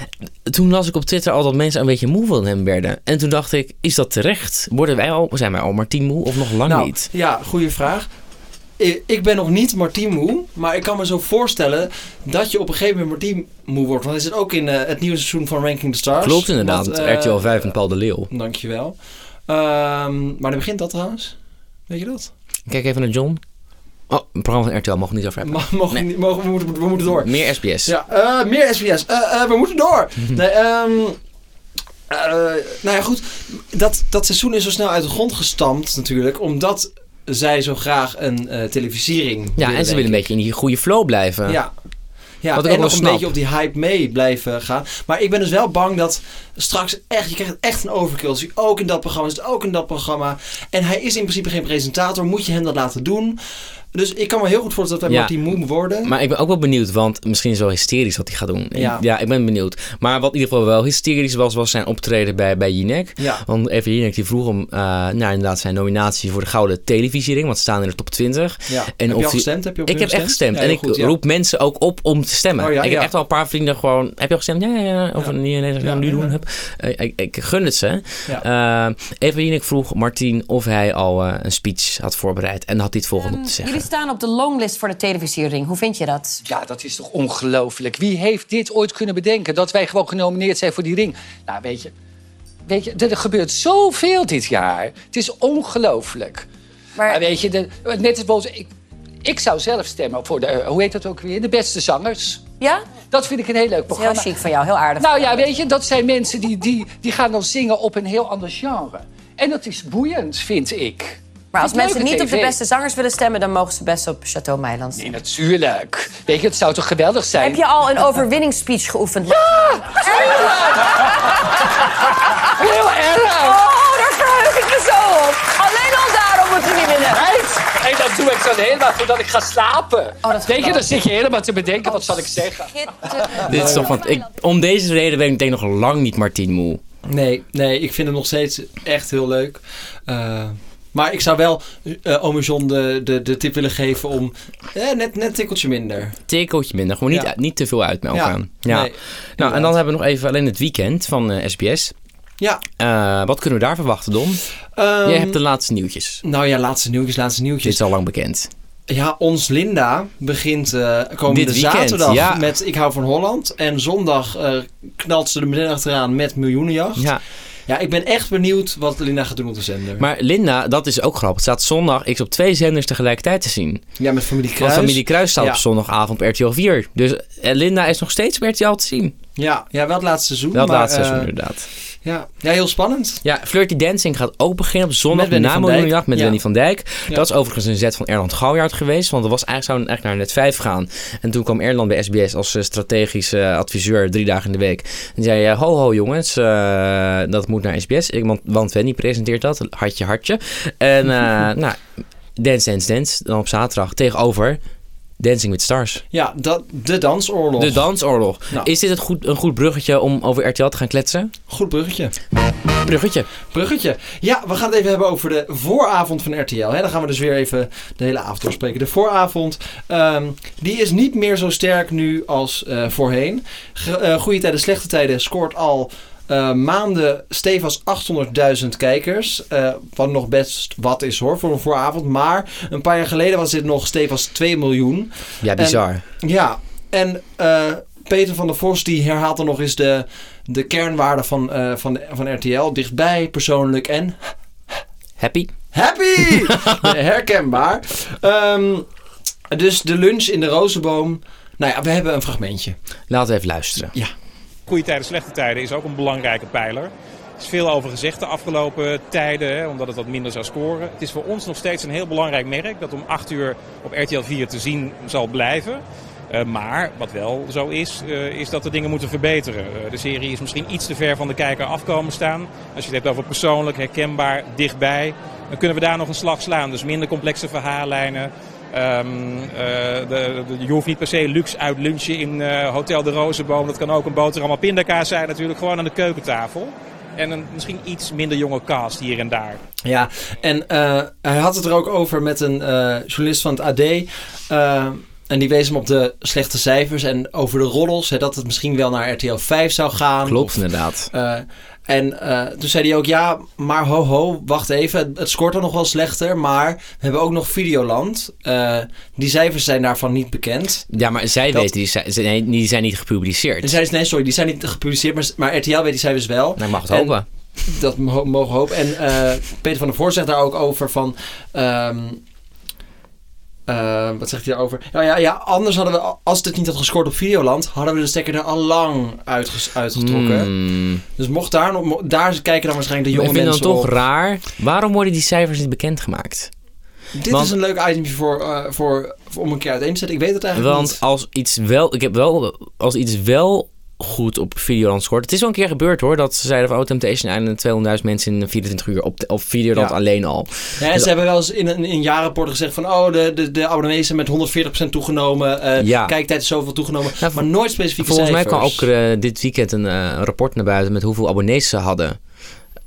B: toen las ik op Twitter al dat mensen een beetje moe van hem werden. En toen dacht ik, is dat terecht? Worden wij al, zijn wij al Martien moe of nog lang
A: nou,
B: niet?
A: Ja, goede vraag. I- Ik ben nog niet Martien moe, maar ik kan me zo voorstellen dat je op een gegeven moment Martien moe wordt. Want hij zit ook in eh, het nieuwe seizoen van Ranking the Stars.
B: Klopt inderdaad.
A: Want, eh,
B: RTL 5 en Paul de Leeuw.
A: Dankjewel. Ehm maar dan begint dat trouwens. Weet je dat?
B: Kijk even naar John. Oh, een programma van RTL mogen we niet over hebben.
A: Ma- mogen we, niet- mogen, we, moeten, we moeten door.
B: Meer SBS.
A: Ja, eh, meer SBS. Eh, eh, we moeten door. Nee, ehm, eh, nou ja, goed. Dat, dat seizoen is zo snel uit de grond gestampt natuurlijk. Omdat zij zo graag een eh, televisiering
B: Ja, en ze willen een beetje in die goede flow blijven.
A: Ja. Ja,
B: Wat ik
A: en
B: ook wel
A: nog een
B: snap.
A: beetje op die hype mee blijven gaan. Maar ik ben dus wel bang dat straks echt... Je krijgt echt een overkill. Zie ook in dat programma, zit ook in dat programma. En hij is in principe geen presentator. Moet je hem dat laten doen? Dus ik kan me heel goed voorstellen dat wij
B: Ja.
A: Martin Moe worden.
B: Maar ik ben ook wel benieuwd, want misschien is het wel hysterisch wat hij gaat doen.
A: Ja.
B: Ik- ik ben benieuwd. Maar wat in ieder geval wel hysterisch was, was zijn optreden bij, bij Jinek.
A: ja.
B: Want even Jinek die vroeg om naar inderdaad zijn nominatie voor de Gouden Televisiering, want ze staan in de top 20.
A: ja.
B: en
A: heb
B: of
A: je al
B: die-
A: gestemd? Heb je op
B: Ik
A: hem
B: heb echt gestemd.
A: Ja,
B: en
A: heel
B: ik
A: goed, ja.
B: roep mensen ook op om te stemmen.
A: Oh ja,
B: ik
A: ja.
B: heb echt al een paar vrienden gewoon... Heb je al gestemd? Ja, ja, ja. Of
A: Ja.
B: nee, nee, dat
A: Ja,
B: gaan we nu
A: ja.
B: doen. Hup. Eh, Ik, ik, gun het ze. Eh, even Jinek vroeg Martien of hij al eh, een speech had voorbereid. En had hij het
E: Ehm,
B: volgende op te zeggen.
F: Jullie staan op de longlist voor de televisiering. Hoe vind je dat?
G: Ja, dat is toch ongelooflijk. Wie heeft dit ooit kunnen bedenken? Dat wij gewoon genomineerd zijn voor die ring. Nou, weet je, weet je er er gebeurt zoveel dit jaar. Het is ongelooflijk. Maar
E: Ah,
F: Maar
G: weet je, de, net als boos, ik, ik zou zelf stemmen voor de, eh, hoe heet dat ook weer? De beste zangers.
F: ja,
G: Dat vind ik een heel leuk
F: dat is heel
G: programma.
F: chic van jou, heel aardig.
G: Nou ja, weet je, dat zijn mensen die, die, die gaan dan zingen op een heel ander genre. En dat is boeiend, vind ik.
F: Maar als
G: Vind ik
F: mensen
G: leuke
F: niet op de
G: TV.
F: beste zangers willen stemmen, dan mogen ze best op Chateau Meiland.
G: Nee, natuurlijk. Weet je, het zou toch geweldig zijn?
F: Heb je al een overwinningsspeech geoefend?
G: Heel erg!
F: Oh, daar verheug ik me zo op. Alleen al daarom moeten we winnen.
G: Right? En dan doe ik zo'n helemaal voordat ik ga slapen.
F: Oh, dat is
G: Weet je, dan
F: geweldig.
G: zit je helemaal te bedenken, wat zal ik zeggen?
B: Dit is toch van, ik, om deze reden ben ik denk ik nog lang niet Martien moe.
A: Nee, nee, ik vind hem nog steeds echt heel leuk. Eh, maar ik zou wel eh ome John de, de, de tip willen geven om eh, net, net een tikkeltje minder.
B: Tikkeltje minder, gewoon niet,
A: Ja.
B: uit- niet te veel uitmelken.
A: Ja.
B: Ja. ja.
A: Nee,
B: nou, en dan hebben we nog even alleen het weekend van eh, SBS.
A: Ja.
B: Eh, wat kunnen we daar verwachten, Don?
A: Ehm,
B: Jij hebt de laatste nieuwtjes.
A: Nou ja, laatste nieuwtjes, laatste
B: Dit
A: nieuwtjes.
B: is al lang bekend.
A: Ja, ons Linda begint eh, komende
B: Dit weekend,
A: zaterdag
B: ja.
A: met Ik hou van Holland. En zondag eh, knalt ze er meteen achteraan met Miljoenenjacht. Ja.
B: Ja,
A: ik ben echt benieuwd wat Linda gaat doen op de zender.
B: maar Linda, dat is ook grappig. Het staat zondag X op twee zenders tegelijkertijd te zien.
A: ja, met familie
B: Want
A: Kruis.
B: Familie Kruis staat
A: Ja.
B: op zondagavond op RTL 4. Dus eh, Linda is nog steeds op RTL te zien.
A: Ja, ja, wel het laatste seizoen.
B: Wel het
A: maar,
B: laatste seizoen
A: eh,
B: inderdaad.
A: ja. ja, heel spannend.
B: Ja, Flirty Dancing gaat ook beginnen op zondag
A: Met Wendy
B: na
A: van Dijk.
B: Miljoenenjacht met
A: Ja.
B: Wendy van Dijk.
A: Ja.
B: Dat is overigens een zet van Erland Gouwjaard geweest. Want er was eigenlijk, zou eigenlijk naar net 5 gaan. En toen kwam Erland bij SBS als eh, strategisch eh, adviseur drie dagen in de week. En zei: eh, Ho, ho, jongens, eh, dat moet naar SBS. Ik, want, want Wendy presenteert dat. Hartje, hartje. En eh, nou, Dance, Dance, Dance. Dan op zaterdag tegenover Dancing with Stars.
A: Ja, dat, de dansoorlog.
B: De dansoorlog.
A: Nou.
B: Is dit het goed, een goed bruggetje om over RTL te gaan kletsen?
A: Goed bruggetje.
B: Bruggetje.
A: Bruggetje. Ja, we gaan het even hebben over de vooravond van RTL. Hè? Dan gaan we dus weer even de hele avond doorspreken. De vooravond, ehm, die is niet meer zo sterk nu als eh, voorheen. Ge- eh, goede tijden, slechte tijden scoort al eh, maanden stevast 800.000 kijkers. Eh, wat nog best wat is hoor, voor een vooravond. Maar een paar jaar geleden was dit nog stevast 2 miljoen.
B: Ja, bizar.
A: Ja, en eh, Peter van der Vos die herhaalt dan nog eens de, de kernwaarden van, eh, van, de- van RTL. Dichtbij, persoonlijk en
B: Happy?
A: happy! Herkenbaar. Ehm, dus de lunch in de rozenboom. Nou ja, we hebben een fragmentje.
B: Laten we even luisteren.
H: Goede tijden, slechte tijden is ook een belangrijke pijler. Er is veel over gezegd de afgelopen tijden, hè, omdat het wat minder zou scoren. Het is voor ons nog steeds een heel belangrijk merk dat om 8 uur op RTL 4 te zien zal blijven. Eh, maar wat wel zo is, eh, is dat de dingen moeten verbeteren. Eh, de serie is misschien iets te ver van de kijker afkomen staan. Als je het hebt over persoonlijk, herkenbaar, dichtbij, dan kunnen we daar nog een slag slaan. Dus minder complexe verhaallijnen. Ehm, eh, de, de- je hoeft niet per se luxe uit lunchen in eh, Hotel de Rozenboom. Dat kan ook een boterham en pindakaas zijn natuurlijk. Gewoon aan de keukentafel. En een misschien iets minder jonge cast hier en daar.
A: Ja, en eh, hij had het er ook over met een eh, journalist van het AD. eh, en die wees hem op de slechte cijfers en over de roddels. Hè, dat het misschien wel naar RTL 5 zou gaan.
B: Klopt, inderdaad.
A: Eh, en eh, toen zei hij ook, ja, maar ho ho, wacht even. Het, het scoort dan nog wel slechter, maar we hebben ook nog Videoland. Eh, die cijfers zijn daarvan niet bekend.
B: Ja, maar zij
A: Dat-
B: weten, die zijn, ze- nee, die zijn niet
A: En
B: gepubliceerd.
A: zij is, nee, sorry, die zijn niet gepubliceerd, maar, maar RTL weet die cijfers wel.
B: Nou, ik mag het
A: En-
B: hopen.
A: Dat mo- mogen we hopen. En eh, Peter van der Voort zegt daar ook over van... ehm, eh, wat zegt hij daarover? Nou ja, ja, anders hadden we, als dit niet had gescoord op Videoland, hadden we de stekker er al lang uitges- uitgetrokken.
B: Hmm.
A: Dus mocht daar, nog- mo- daar kijken dan waarschijnlijk de
B: Maar
A: jonge
B: Ik vind dan
A: mensen
B: toch
A: op.
B: raar. Waarom worden die cijfers niet bekendgemaakt?
A: Dit
B: Want-
A: is een leuk itemje voor, eh, voor, voor om een keer uiteen te zetten. Ik weet het eigenlijk
B: Want
A: niet.
B: als iets wel, ik heb wel, als iets wel goed op Videoland scoort. Het is wel een keer gebeurd hoor, dat ze zeiden van oh, Temptation Island 200.000 mensen in 24 uur op, op Videoland
A: Ja.
B: alleen al.
A: Ja, en ze hebben wel eens in een, in een jaarrapport gezegd van... oh, de, de, de abonnees zijn met 140% toegenomen. eh,
B: Ja.
A: Kijktijd is zoveel toegenomen.
B: Nou,
A: maar nooit specifieke
B: Volgens mij kwam
A: cijfers.
B: ook eh, dit weekend een eh, rapport naar buiten met hoeveel abonnees ze hadden.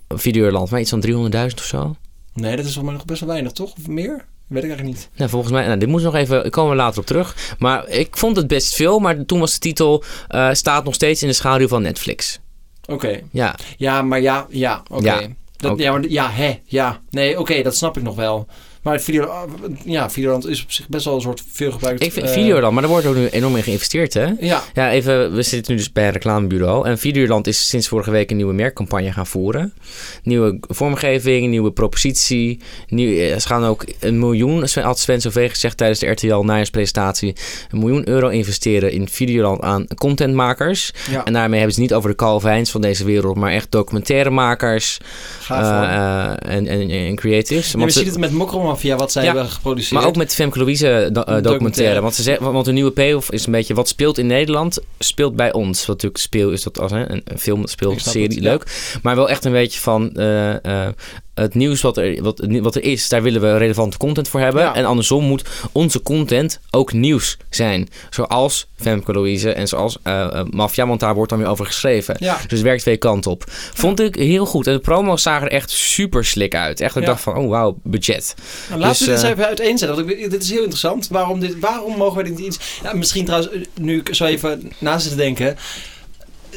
B: op Videoland, maar iets van 300.000 of zo.
A: Nee, dat is volgens mij nog best wel weinig, toch? Of meer? Weet ik eigenlijk niet.
B: Nou, volgens mij, nou, dit moet nog even, daar komen we later op terug. Maar ik vond het best veel, maar toen was de titel eh, staat nog steeds in de schaduw van Netflix.
A: Oké.
B: Ja,
A: Ja, maar ja, ja, oké.
B: Ja,
A: Dat-
B: oké.
A: Ja, maar, ja, hè, ja. Nee, oké, dat snap ik nog wel. Maar video, ah, ja, Videoland is op zich best wel een soort veelgebruikt...
B: Ik vind
A: eh,
B: Videoland, maar daar wordt ook nu enorm in geïnvesteerd, hè?
A: Ja,
B: Ja, even, we zitten nu dus bij een reclamebureau. En Videoland is sinds vorige week een nieuwe merkcampagne gaan voeren. Nieuwe vormgeving, nieuwe propositie. Nieuw, eh, ze gaan ook een miljoen, Sven- had Sven Zovee gezegd tijdens de RTL najaarspresentatie, een miljoen euro investeren in Videoland aan contentmakers.
A: ja.
B: En daarmee hebben ze het niet over de Calvijns van deze wereld, maar echt documentairemakers
A: gaaf
B: eh,
A: hoor.
B: eh, en, en, en creatives.
A: Ja,
B: Want
A: je
B: ze-
A: ziet het met Mokromafia, wat zij
B: Ja,
A: hebben geproduceerd.
B: maar ook met Femke Louise eh, do- eh, documentaire.
A: Documentaire.
B: Want, ze zegt, want de nieuwe payoff is een beetje wat speelt in Nederland, speelt bij ons. Wat natuurlijk speel is dat als hè, een, een film,
A: Ik
B: speelt,
A: snap
B: serie,
A: het, ja.
B: leuk. Maar wel echt een beetje van eh, eh, het nieuws wat er, wat, wat er is, daar willen we relevante content voor hebben.
A: Ja.
B: En andersom moet onze content ook nieuws zijn. Zoals Femke Louise en zoals eh eh, Mafia, want daar wordt dan weer over geschreven.
A: Ja.
B: Dus het werkt twee kanten op. Vond ik heel goed. En de promo's zagen er echt super slik uit. Echt, ik
A: Ja.
B: dacht van, oh wauw, budget.
A: Nou,
B: Dus,
A: laten we
B: eh,
A: dit eens even uiteenzetten. Want ik, dit is heel interessant. Waarom, dit, waarom mogen wij dit niet iets... Ja, misschien trouwens, eh, nu ik zo even na zit te denken.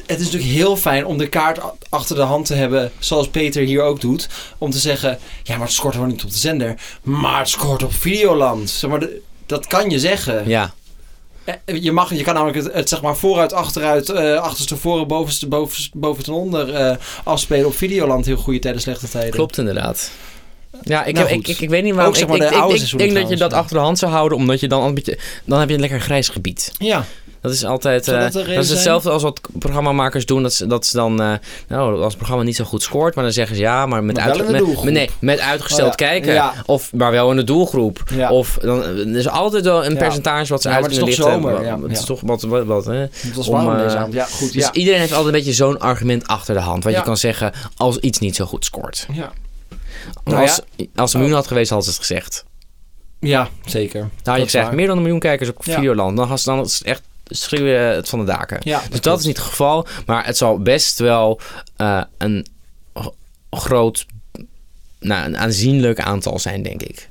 A: Het is natuurlijk heel fijn om de kaart a- achter de hand te hebben. Zoals Peter hier ook doet. Om te zeggen, ja, maar het scoort gewoon niet op de zender. Maar het scoort op Videoland. Zeg maar, de- dat kan je zeggen.
B: Ja.
A: Eh, Je, mag, je kan namelijk het, het zeg maar vooruit, achteruit, eh achterste voren, bovenste, bovenste, boven en onder eh, afspelen op Videoland. Heel goede tijden, slechte tijden.
B: Klopt inderdaad. Ja, ik,
A: Nou
B: heb, ik,
A: goed.
B: ik, ik weet niet waarom.
A: Ook, zeg
B: ik
A: maar, de
B: ik- ik-
A: oude
B: ik
A: seizoenen
B: denk dat je dat
A: trouwens.
B: achter de hand zou houden, omdat je dan een beetje, dan heb je een lekker grijs gebied.
A: Ja.
B: Dat is altijd.
A: Zou
B: eh,
A: dat de
B: dat,
A: reden
B: is
A: zijn?
B: hetzelfde als wat programmamakers doen. Dat ze, dat ze dan. eh, nou, als het programma niet zo goed scoort, maar dan zeggen ze ja, maar met,
A: Maar wel in de
B: met,
A: doelgroep.
B: met- nee, met uitgesteld
A: Oh ja.
B: kijken.
A: Ja.
B: Of, maar wel in de doelgroep.
A: Ja.
B: Of dan er is altijd wel een
A: Ja.
B: percentage wat ze
A: Ja,
B: uit
A: maar het is
B: kunnen
A: toch
B: lichten.
A: zomer,
B: Wat-
A: ja.
B: Het is
A: Ja.
B: toch wat. wat, wat hè?
A: Het was
B: Om,
A: warm deze
B: eh,
A: avond. Ja, goed.
B: Dus
A: ja.
B: iedereen heeft altijd een beetje zo'n argument achter de hand. Wat
A: Ja.
B: je kan zeggen als iets niet zo goed scoort.
A: Ja.
B: Maar
A: Nou
B: als, als er een miljoen had geweest, had ze het gezegd.
A: ja, zeker.
B: Nou, je
A: Dat is
B: gezegd
A: waar.
B: meer dan een miljoen kijkers op
A: Ja.
B: Videoland. Dan, had ze- dan is het echt schreeuwen eh, het van de daken.
A: Ja,
B: dus dat is niet het geval. Maar het zal best wel eh, een gro- groot, nou, een aanzienlijk aantal zijn, denk ik.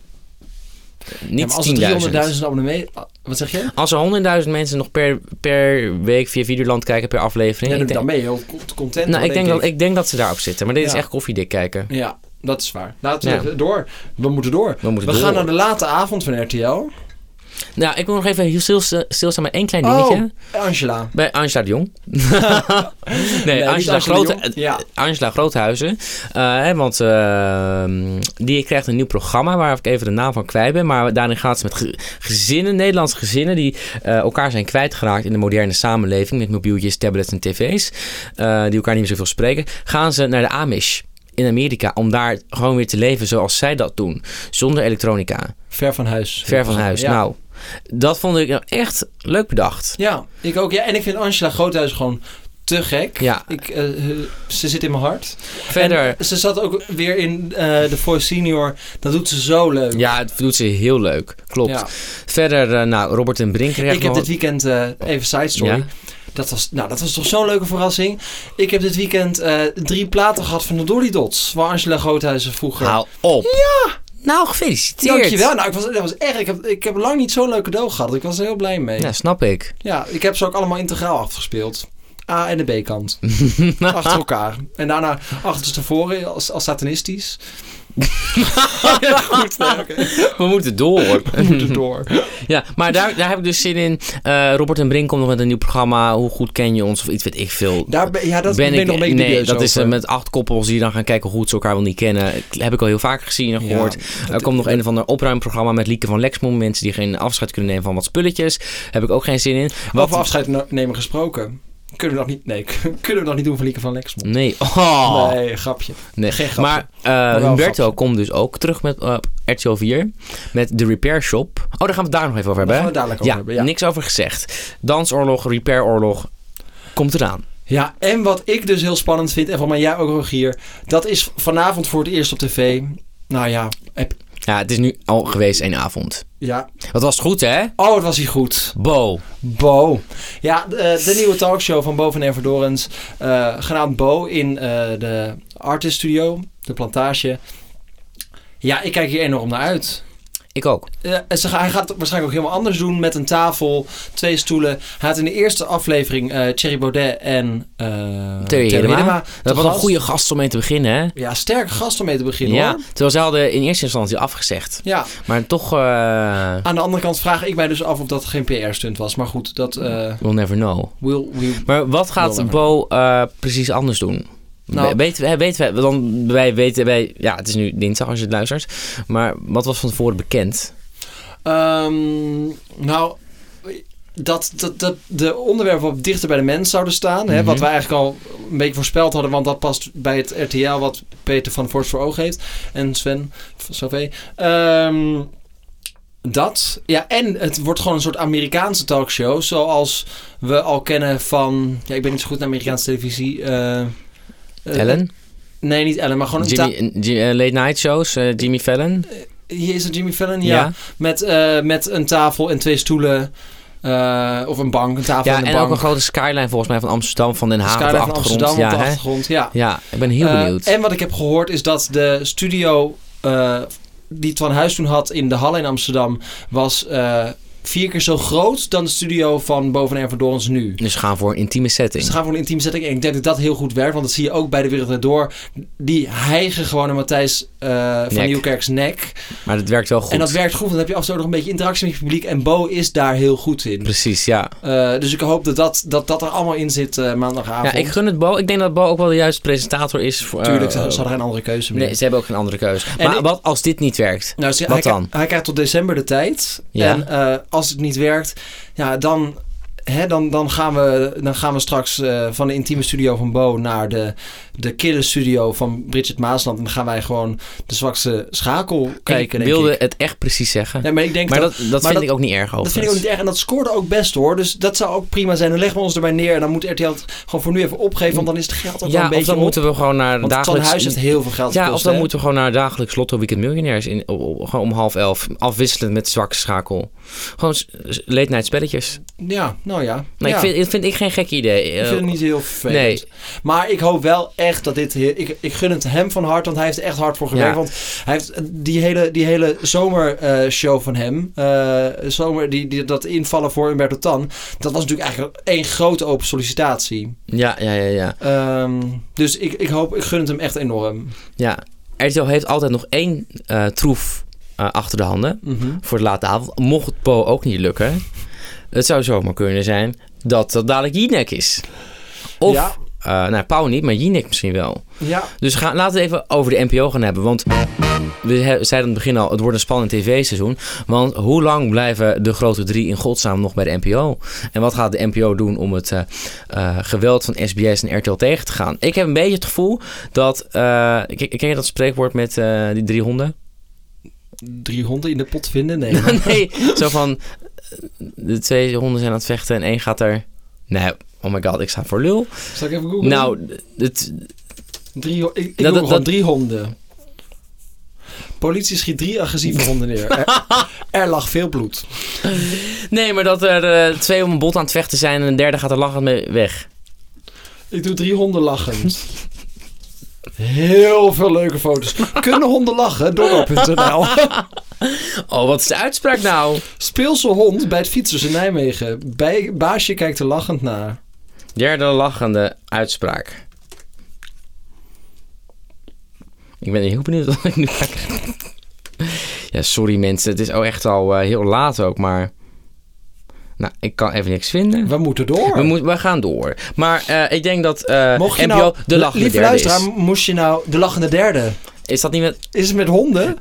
A: Ja,
B: Niet
A: maar als er
B: 10.000.
A: 300.000 abonnees... Wat zeg je?
B: Als er 100.000 mensen nog per, per week via Videoland kijken, per aflevering.
A: Ja,
B: ik denk,
A: dan ben je heel cont- content.
B: nou, ik denk, dat,
A: ik.
B: ik denk dat ze daarop zitten. Maar dit is
A: Ja.
B: echt koffiedik kijken.
A: Ja, dat is waar. Laten we
B: Ja.
A: even door. We moeten door.
B: We moeten door.
A: gaan naar de late avond van RTL.
B: Nou, ik wil nog even heel stilsta- stilstaan met één klein
A: Oh.
B: dingetje.
A: Angela.
B: Bij Angela de Jong. nee,
A: niet
B: Angela,
A: Angela
B: Grote,
A: de Jong. Ja.
B: Angela Groothuizen. Eh, hè, want eh, die krijgt een nieuw programma waar ik even de naam van kwijt ben. Maar daarin gaat ze met ge- gezinnen, Nederlandse gezinnen, die eh, elkaar zijn kwijtgeraakt in de moderne samenleving. Met mobieltjes, tablets en tv's. eh, die elkaar niet meer zoveel spreken. Gaan ze naar de Amish in Amerika om daar gewoon weer te leven zoals zij dat doen. Zonder elektronica.
A: Ver van huis.
B: Ver van huis.
A: Ja.
B: Nou, dat vond ik nou echt leuk bedacht.
A: Ja, ik ook. Ja, en ik vind Angela Groothuis gewoon te gek.
B: Ja.
A: Ik, eh, eh, ze zit in mijn hart.
B: Verder.
A: En ze zat ook weer in eh The Voice Senior. Dat doet ze zo leuk.
B: Ja, het doet ze heel leuk. Klopt.
A: Ja.
B: Verder, eh, nou, Robert en Brink krijgt
A: Ik heb
B: nog
A: dit weekend, eh, even side story.
B: Ja.
A: Dat, was, nou, dat was toch zo'n leuke verrassing. Ik heb dit weekend eh, drie platen gehad van de Dolly Dots. Waar Angela Groothuizen vroeger...
B: Haal op. Ja. Nou, gefeliciteerd.
A: Dankjewel. Nou, ik was, dat was erg. Ik heb, ik heb lang niet zo'n leuk cadeau gehad. Ik was er heel blij mee.
B: Ja, snap ik.
A: Ja, ik heb ze ook allemaal integraal afgespeeld. A en de B-kant. Achter elkaar. En daarna achterstevoren als, als satanistisch. Ja, Goed, nee, oké.
B: We moeten door.
A: We moeten door.
B: ja, maar daar, daar heb ik dus zin in. Eh, Robert en Brink komt nog met een nieuw programma. Hoe goed ken je ons? Of iets weet ik veel.
A: Daar ben, ja, dat ben, ik nog een beetje
B: nee,
A: dubieus
B: dat is eh,
A: over.
B: met acht koppels die dan gaan kijken hoe goed ze elkaar wel niet kennen. Dat Heb ik al heel vaak gezien en
A: Ja,
B: gehoord. er
A: dat-
B: komt nog een of ander opruimprogramma met Lieke van Lexmond. Mensen die geen afscheid kunnen nemen van wat spulletjes. Heb ik ook geen zin in. Wat,
A: Over afscheid nemen gesproken. Kunnen we nog niet... Nee, kunnen we nog niet doen van Lieke van Lexmond.
B: Nee. Oh.
A: Nee, grapje.
B: Nee.
A: Geen grapje.
B: maar eh,
A: wel een
B: Humberto
A: grapje.
B: komt dus ook terug met eh, op RTL 4. Met de Repair Shop. Oh, daar gaan we het daar nog even over hebben.
A: Daar gaan
B: hè?
A: we het dadelijk over
B: ja,
A: hebben, ja.
B: niks over gezegd. Dansoorlog, Repairoorlog. Komt eraan.
A: Ja, en wat ik dus heel spannend vind, en van mij jij ook Rogier, dat is vanavond voor het eerst op tv. Nou ja, heb-
B: Ja, het is nu al geweest één avond.
A: ja.
B: Wat was het goed, hè?
A: Oh, het was hier goed.
B: Bo.
A: Bo. Ja, de, de nieuwe talkshow van Bo van Everdorens, eh genaamd Bo in eh, de Artist Studio, de plantage. Ja, ik kijk hier enorm naar uit.
B: Ik ook.
A: Ja, en ze ga- hij gaat het waarschijnlijk ook helemaal anders doen met een tafel, twee stoelen. Hij had in de eerste aflevering eh Thierry Baudet en eh
B: Thierry
A: Thierry
B: Baudet.
A: Baudet te
B: Dat was een
A: gast.
B: goede gast om mee te beginnen, hè?
A: Ja, sterk gast om mee te beginnen
B: Ja,
A: hoor.
B: terwijl ze hadden in eerste instantie afgezegd.
A: Ja,
B: Maar toch, eh
A: aan de andere kant vraag ik mij dus af of dat geen PR-stunt was. Maar goed, dat eh
B: we'll never know.
A: will... will...
B: Maar wat gaat
A: Wel
B: Bo eh, precies anders doen?
A: Nou-
B: We- weten, wij, weten wij, dan, wij weten wij, ja, het is nu dinsdag als je het luistert. Maar wat was van tevoren bekend?
A: Ehm, nou, dat, dat, dat de onderwerpen wat dichter bij de mens zouden staan. hè,
B: Mhm.
A: wat wij eigenlijk al een beetje voorspeld hadden. Want dat past bij het RTL wat Peter van Voorst voor oog heeft. En Sven, Sauvé. Ehm dat. Ja, en het wordt gewoon een soort Amerikaanse talkshow. Zoals we al kennen van... Ja, ik ben niet zo goed in Amerikaanse televisie. eh, eh,
B: Ellen?
A: Nee, niet Ellen, maar gewoon... een
B: Jimmy, Ji- eh, late night shows? eh, Jimmy Fallon?
A: ta- Hier is het Jimmy Fallon, ja. Met, eh, met een tafel en twee stoelen. eh, of een bank, een tafel
B: Ja,
A: en een
B: en
A: bank.
B: ook een grote skyline volgens mij van Amsterdam, van Den Haag op de
A: Skyline van
B: achtergrond.
A: Amsterdam
B: ja,
A: op de
B: hè?
A: achtergrond. Ja.
B: ja, ik ben heel
A: Eh,
B: benieuwd.
A: en wat ik heb gehoord is dat de studio eh, die Twan Huis toen had in de Halle in Amsterdam... was eh, vier keer zo groot dan de studio van Boven en Verdorens nu. Dus
B: Dus we gaan voor een intieme setting.
A: Ze gaan voor een intieme setting. En ik denk dat dat heel goed werkt. Want dat zie je ook bij de Wereld Draait Door. Die hijgen gewoon een Matthijs eh, van
B: Nek.
A: Nieuwkerk's nek.
B: Maar dat werkt wel goed.
A: En dat werkt goed. want Dan heb je af en toe nog een beetje interactie met je publiek. En Bo is daar heel goed in.
B: Precies, ja.
A: Eh, dus ik hoop dat dat, dat, dat er allemaal in zit eh, maandagavond.
B: Ja, ik gun het Bo. Ik denk dat Bo ook wel de juiste presentator is. Voor, eh,
A: Tuurlijk, ze, ze hadden geen andere keuze meer.
B: Nee, ze hebben ook geen andere keuze.
A: En
B: Maar
A: ik-
B: wat als dit niet werkt?
A: nou, ze-
B: wat
A: hij,
B: dan?
A: hij krijgt tot december de tijd.
B: Ja.
A: En eh, als het niet werkt, ja, dan, hè, dan, dan, gaan, we, dan gaan we straks eh, van de intieme studio van Bo naar de, de kille studio van Bridget Maasland. En dan gaan wij gewoon de zwakste schakel kijken.
B: ik
A: denk
B: wilde
A: ik.
B: het echt precies zeggen.
A: Nee, maar ik denk
B: maar
A: dat,
B: dat, dat vind
A: dat-
B: ik ook niet erg
A: dat vind ik
B: overigens.
A: ook niet erg. En dat scoorde ook best hoor. Dus dat zou ook prima zijn. Dan leggen we ons erbij neer. En dan moet RTL het gewoon voor nu even opgeven. Want dan is het geld ook wel
B: Ja,
A: een
B: of
A: beetje
B: dan
A: op.
B: moeten we gewoon naar
A: Want
B: dagelijks...
A: Van Huis heeft heel veel geld
B: ja,
A: gekost,
B: of dan
A: hè?
B: moeten we gewoon naar dagelijks Lotto Weekend Miljonairs in, o- o- gewoon om half elf. Afwisselend met zwakke schakel. Gewoon s- s- late night spelletjes.
A: Ja, nou ja.
B: Nee,
A: ja.
B: ik vind, vind ik geen gek idee.
A: Ik vind
B: Eh,
A: het niet heel vervelend. Maar ik hoop wel echt dat dit... heel- Ik, ik gun het hem van harte, want hij heeft er echt hard voor gewerkt.
B: Ja.
A: Want hij heeft eh, die hele, die hele zomershow van hem... eh, zomer, die, die, dat invallen voor Humberto Tan... dat was natuurlijk eigenlijk één grote open sollicitatie.
B: Ja, ja, ja, ja.
A: Ehm, dus ik, ik hoop... Ik gun het hem echt enorm.
B: ja. RTL heeft altijd nog één eh, troef eh, achter de handen.
A: Mhm.
B: voor de late avond. Mocht het Po ook niet lukken, het zou zomaar kunnen zijn dat dat dadelijk Jinek is. Of,
A: Ja.
B: eh, nou, Pauw niet, maar Jinek misschien wel.
A: Ja.
B: Dus ga, laten we het even over de NPO gaan hebben. Want we he- zeiden aan het begin al, het wordt een spannend tv-seizoen. Want hoe lang blijven de grote drie in godsnaam nog bij de NPO? En wat gaat de NPO doen om het eh, eh, geweld van SBS en RTL tegen te gaan? Ik heb een beetje het gevoel dat... eh, ken ken je dat spreekwoord met eh, die drie honden?
A: Drie honden in de pot vinden? Nee. maar-
B: nee, zo van... eh, De twee honden zijn aan het vechten en één gaat er... Nee, oh my god, ik sta voor lul.
A: Zal ik even googlen?
B: Nou, het,
A: Drie, ho- ik ik
B: dat-
A: noem gewoon
B: dat-
A: drie honden. Politie schiet drie agressieve honden neer. Er, er lag veel bloed.
B: nee, maar dat er eh, twee om een bot aan het vechten zijn... en een derde gaat er lachend mee weg.
A: Ik doe drie honden lachend. Heel veel leuke foto's. Kunnen honden lachen? Dorp.nl
B: Oh, wat is de uitspraak nou?
A: Speelse hond bij het fietsers in Nijmegen. Bij, baasje kijkt er lachend naar.
B: Derde lachende uitspraak. Ik ben heel benieuwd wat ik nu ga krijgen. Ja, sorry mensen. Het is al echt al eh, heel laat ook, maar... Nou, ik kan even niks vinden.
A: We moeten door.
B: We, moet, we gaan door. Maar eh, ik denk dat eh
A: Mocht je
B: NPO
A: nou,
B: de lachende
A: lieve
B: derde
A: luisteraar,
B: is.
A: moest je nou de lachende derde?
B: Is dat niet met...
A: Is het met honden?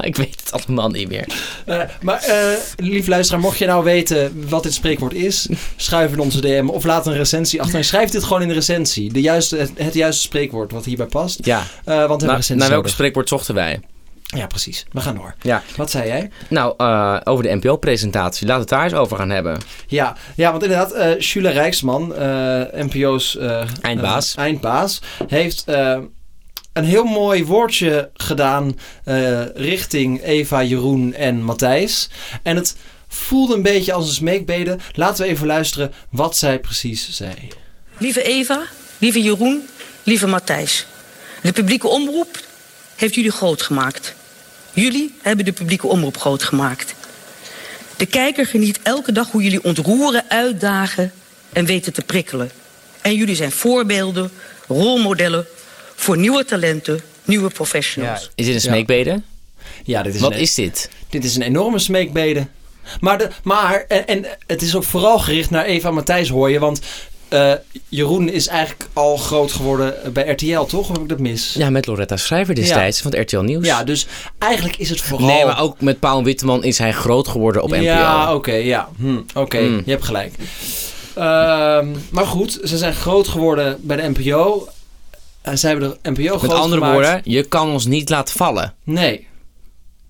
B: ik weet het allemaal niet meer.
A: Eh, maar eh lief luisteraar, mocht je nou weten wat dit spreekwoord is, schuif in onze DM of laat een recensie achter. En schrijf dit gewoon in de recensie. De juiste, het, het juiste spreekwoord wat hierbij past.
B: Ja. Nou,
A: Eh, want we hebben
B: Naar,
A: recensie
B: naar welk
A: nodig.
B: spreekwoord zochten wij?
A: Ja, precies. We gaan door.
B: Ja.
A: Wat zei jij?
B: Nou, eh, over de NPO-presentatie. Laten we het daar eens over gaan hebben.
A: Ja, ja want inderdaad, eh Jule Rijksman, eh, NPO's eh,
B: Eindbaas.
A: eh, eindbaas, heeft eh, een heel mooi woordje gedaan eh, richting Eva, Jeroen en Matthijs. En het voelde een beetje als een smeekbede. Laten we even luisteren wat zij precies zei.
I: Lieve Eva, lieve Jeroen, lieve Matthijs. De publieke omroep heeft jullie groot gemaakt. Jullie hebben de publieke omroep groot gemaakt. De kijker geniet elke dag hoe jullie ontroeren, uitdagen en weten te prikkelen. En jullie zijn voorbeelden, rolmodellen voor nieuwe talenten, nieuwe professionals.
B: Is dit een smeekbede?
A: Ja, dit is,
B: Wat
A: een,
B: is dit?
A: dit is een enorme smeekbede. Maar, de, maar en, en het is ook vooral gericht naar Eva en Matthijs, hoor je. Want eh, Jeroen is eigenlijk al groot geworden bij RTL, toch? Of heb ik dat mis?
B: Ja, met Loretta Schrijver destijds van het RTL Nieuws.
A: Ja, dus eigenlijk is het vooral...
B: Nee, maar ook met Paul Witteman is hij groot geworden op NPO.
A: Ja, oké, ja. Hm, oké,
B: Mm.
A: je hebt gelijk. Ehm, maar goed, ze zijn groot geworden bij de NPO. En zij hebben de NPO groot
B: met andere
A: gemaakt.
B: woorden, je kan ons niet laten vallen.
A: Nee,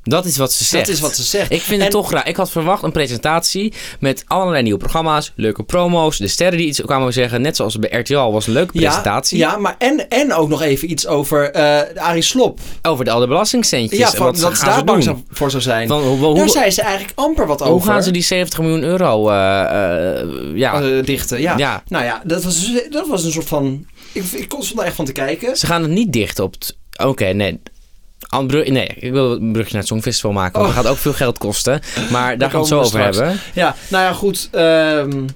B: Dat is wat ze zegt.
A: dat is wat ze zegt.
B: Ik vind het
A: En-
B: toch raar. Ik had verwacht een presentatie met allerlei nieuwe programma's, leuke promo's, de sterren die iets kwamen zeggen. Net zoals bij RTL was een leuke presentatie.
A: Ja, ja maar en, en ook nog even iets over eh Arie Slop.
B: Over de, al de belastingcentjes.
A: Ja,
B: en
A: van,
B: wat ze
A: dat ze
B: gaan
A: daar bang
B: doen.
A: zou- voor zou zijn.
B: Van, hoe, hoe,
A: daar
B: hoe-
A: zei ze eigenlijk amper wat
B: hoe
A: over.
B: gaan ze die 70 miljoen euro eh, eh, ja.
A: eh, dichten? Ja.
B: Ja.
A: Nou ja, dat was, dus- dat was een soort van... Ik, ik kon er echt van te kijken.
B: Ze gaan het niet dicht op het... Oké, nee. Aan Bru- Nee, ik wil een brugje naar het Songfestival maken. Want dat gaat ook veel geld kosten. Maar daar gaan we het zo
A: Oh.
B: over
A: komen we straks.
B: hebben.
A: Ja, nou ja, goed. ehm,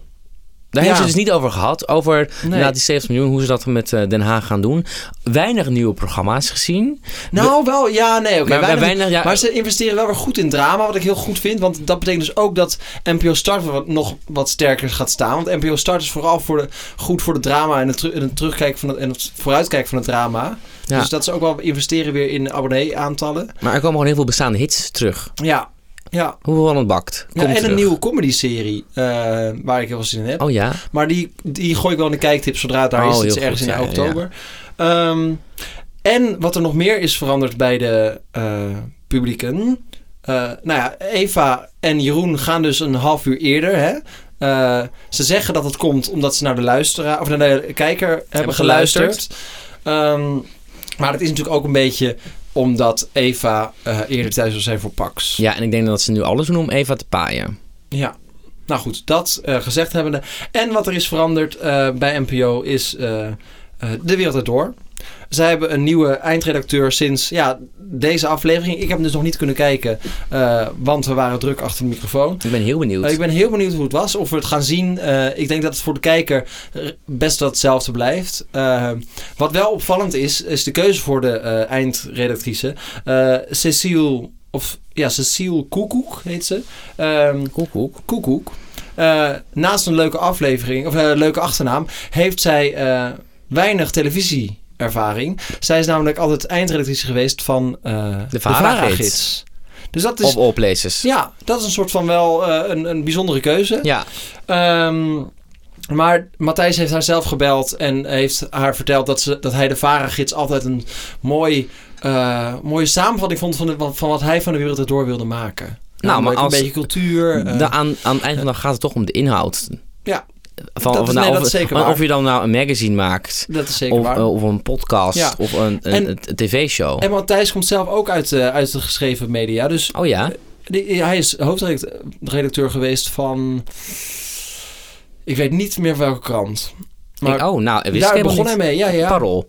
B: Daar
A: Ja.
B: hebben ze het dus niet over gehad. Over na die 70 miljoen, hoe ze dat met eh, Den Haag gaan doen. Weinig nieuwe programma's gezien.
A: Nou, wel, ja, nee, oké.
B: Maar- maar
A: weinig-
B: weinig, ja.
A: maar ze investeren wel weer goed in drama, wat ik heel goed vind. Want dat betekent dus ook dat NPO Start wat, nog wat sterker gaat staan. Want NPO Start is vooral voor de, goed voor de drama en het, teru- en het terugkijken van het, en het vooruitkijken van het drama.
B: Ja.
A: Dus dat ze ook wel investeren weer in abonnee-aantallen.
B: Maar er komen gewoon heel veel bestaande hits terug.
A: Ja, ja.
B: Hoeveel van het bakt.
A: ja
B: Komt
A: en een
B: terug.
A: nieuwe comedy-serie eh, waar ik heel veel zin in heb.
B: Oh ja.
A: Maar die, die gooi ik wel in de kijktip zodra het daar
B: Oh,
A: is. Het is
B: heel
A: ergens
B: goed,
A: in
B: ja,
A: oktober. Ehm, en wat er nog meer is veranderd bij de eh, publieken. Eh, nou ja, Eva en Jeroen gaan dus een half uur eerder. Hè? Eh, ze zeggen dat het komt omdat ze naar de, luisteraar, of naar de kijker hebben,
B: geluisterd.
A: geluisterd. Ehm, maar het is natuurlijk ook een beetje omdat Eva eh, eerder thuis zou zijn voor Pax.
B: Ja, en ik denk dat ze nu alles doen om Eva te paaien.
A: Ja. Nou goed, dat eh, gezegd hebbende. En wat er is veranderd eh, bij NPO is eh, eh, De Wereld Erdoor. Zij hebben een nieuwe eindredacteur sinds ja, deze aflevering. Ik heb hem dus nog niet kunnen kijken, eh, want we waren druk achter de microfoon.
B: Ik ben heel benieuwd.
A: Eh, ik ben heel benieuwd hoe het was, of we het gaan zien. Eh, ik denk dat het voor de kijker eh, best wel hetzelfde blijft. Eh, wat wel opvallend is, is de keuze voor de eh, eindredactrice. Eh, Cecile, of ja, Cecile Koekoek heet ze. Ehm,
B: Koekoek.
A: Koekoek. Eh, naast een leuke aflevering, of eh, leuke achternaam, heeft zij eh, weinig televisieervaring. Zij is namelijk altijd eindredactrice geweest van eh,
B: De Vara-gids.
A: Vara-gids. Dus dat is,
B: Of all places.
A: ja, dat is een soort van wel eh, een, een bijzondere keuze.
B: Ja.
A: Ehm, maar Matthijs heeft haar zelf gebeld en heeft haar verteld dat, ze, dat hij de Vara-gids altijd een mooi, eh, mooie samenvatting vond van, de- van wat hij van de wereld erdoor wilde maken.
B: Nou, maar
A: Namelijk
B: als-
A: een beetje cultuur. eh,
B: Da- aan, aan het eind van de dag gaat het toch om de inhoud.
A: ja,
B: Van,
A: Dat
B: of,
A: is-
B: nou,
A: nee,
B: of,
A: dat is zeker
B: of
A: waar.
B: je dan nou een magazine maakt.
A: dat is zeker
B: Of,
A: waar.
B: eh, of een podcast.
A: Ja.
B: Of een, een,
A: En-
B: een tv-show.
A: En Matthijs komt zelf ook uit, eh, uit de geschreven media. Dus
B: Oh ja.
A: die- hij is hoofdredacteur geweest van. Ik weet niet meer welke krant. Maar
B: ik, oh, nou, wist ik
A: daar
B: helemaal
A: begon hij
B: niet.
A: mee. Ja, ja.
B: Parool.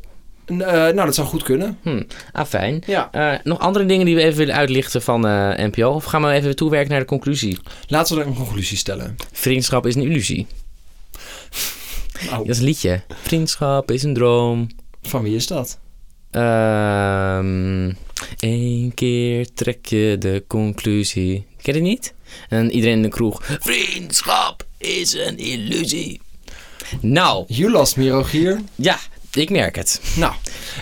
A: N- eh, nou, dat zou goed kunnen.
B: Hm. Ah, fijn.
A: Ja.
B: Eh, nog andere dingen die we even willen uitlichten van eh, NPO? Of gaan we even toewerken naar de conclusie?
A: Laten we er een conclusie stellen.
B: Vriendschap is een illusie.
A: Nou,
B: Dat is een liedje. Vriendschap is een droom.
A: Van wie is dat?
B: Eén Ehm, keer trek je de conclusie. Ken je dit niet? En iedereen in de kroeg. Vriendschap is een illusie. Nou,
A: You lost me, Rogier.
B: ja, ik merk het.
A: Nou,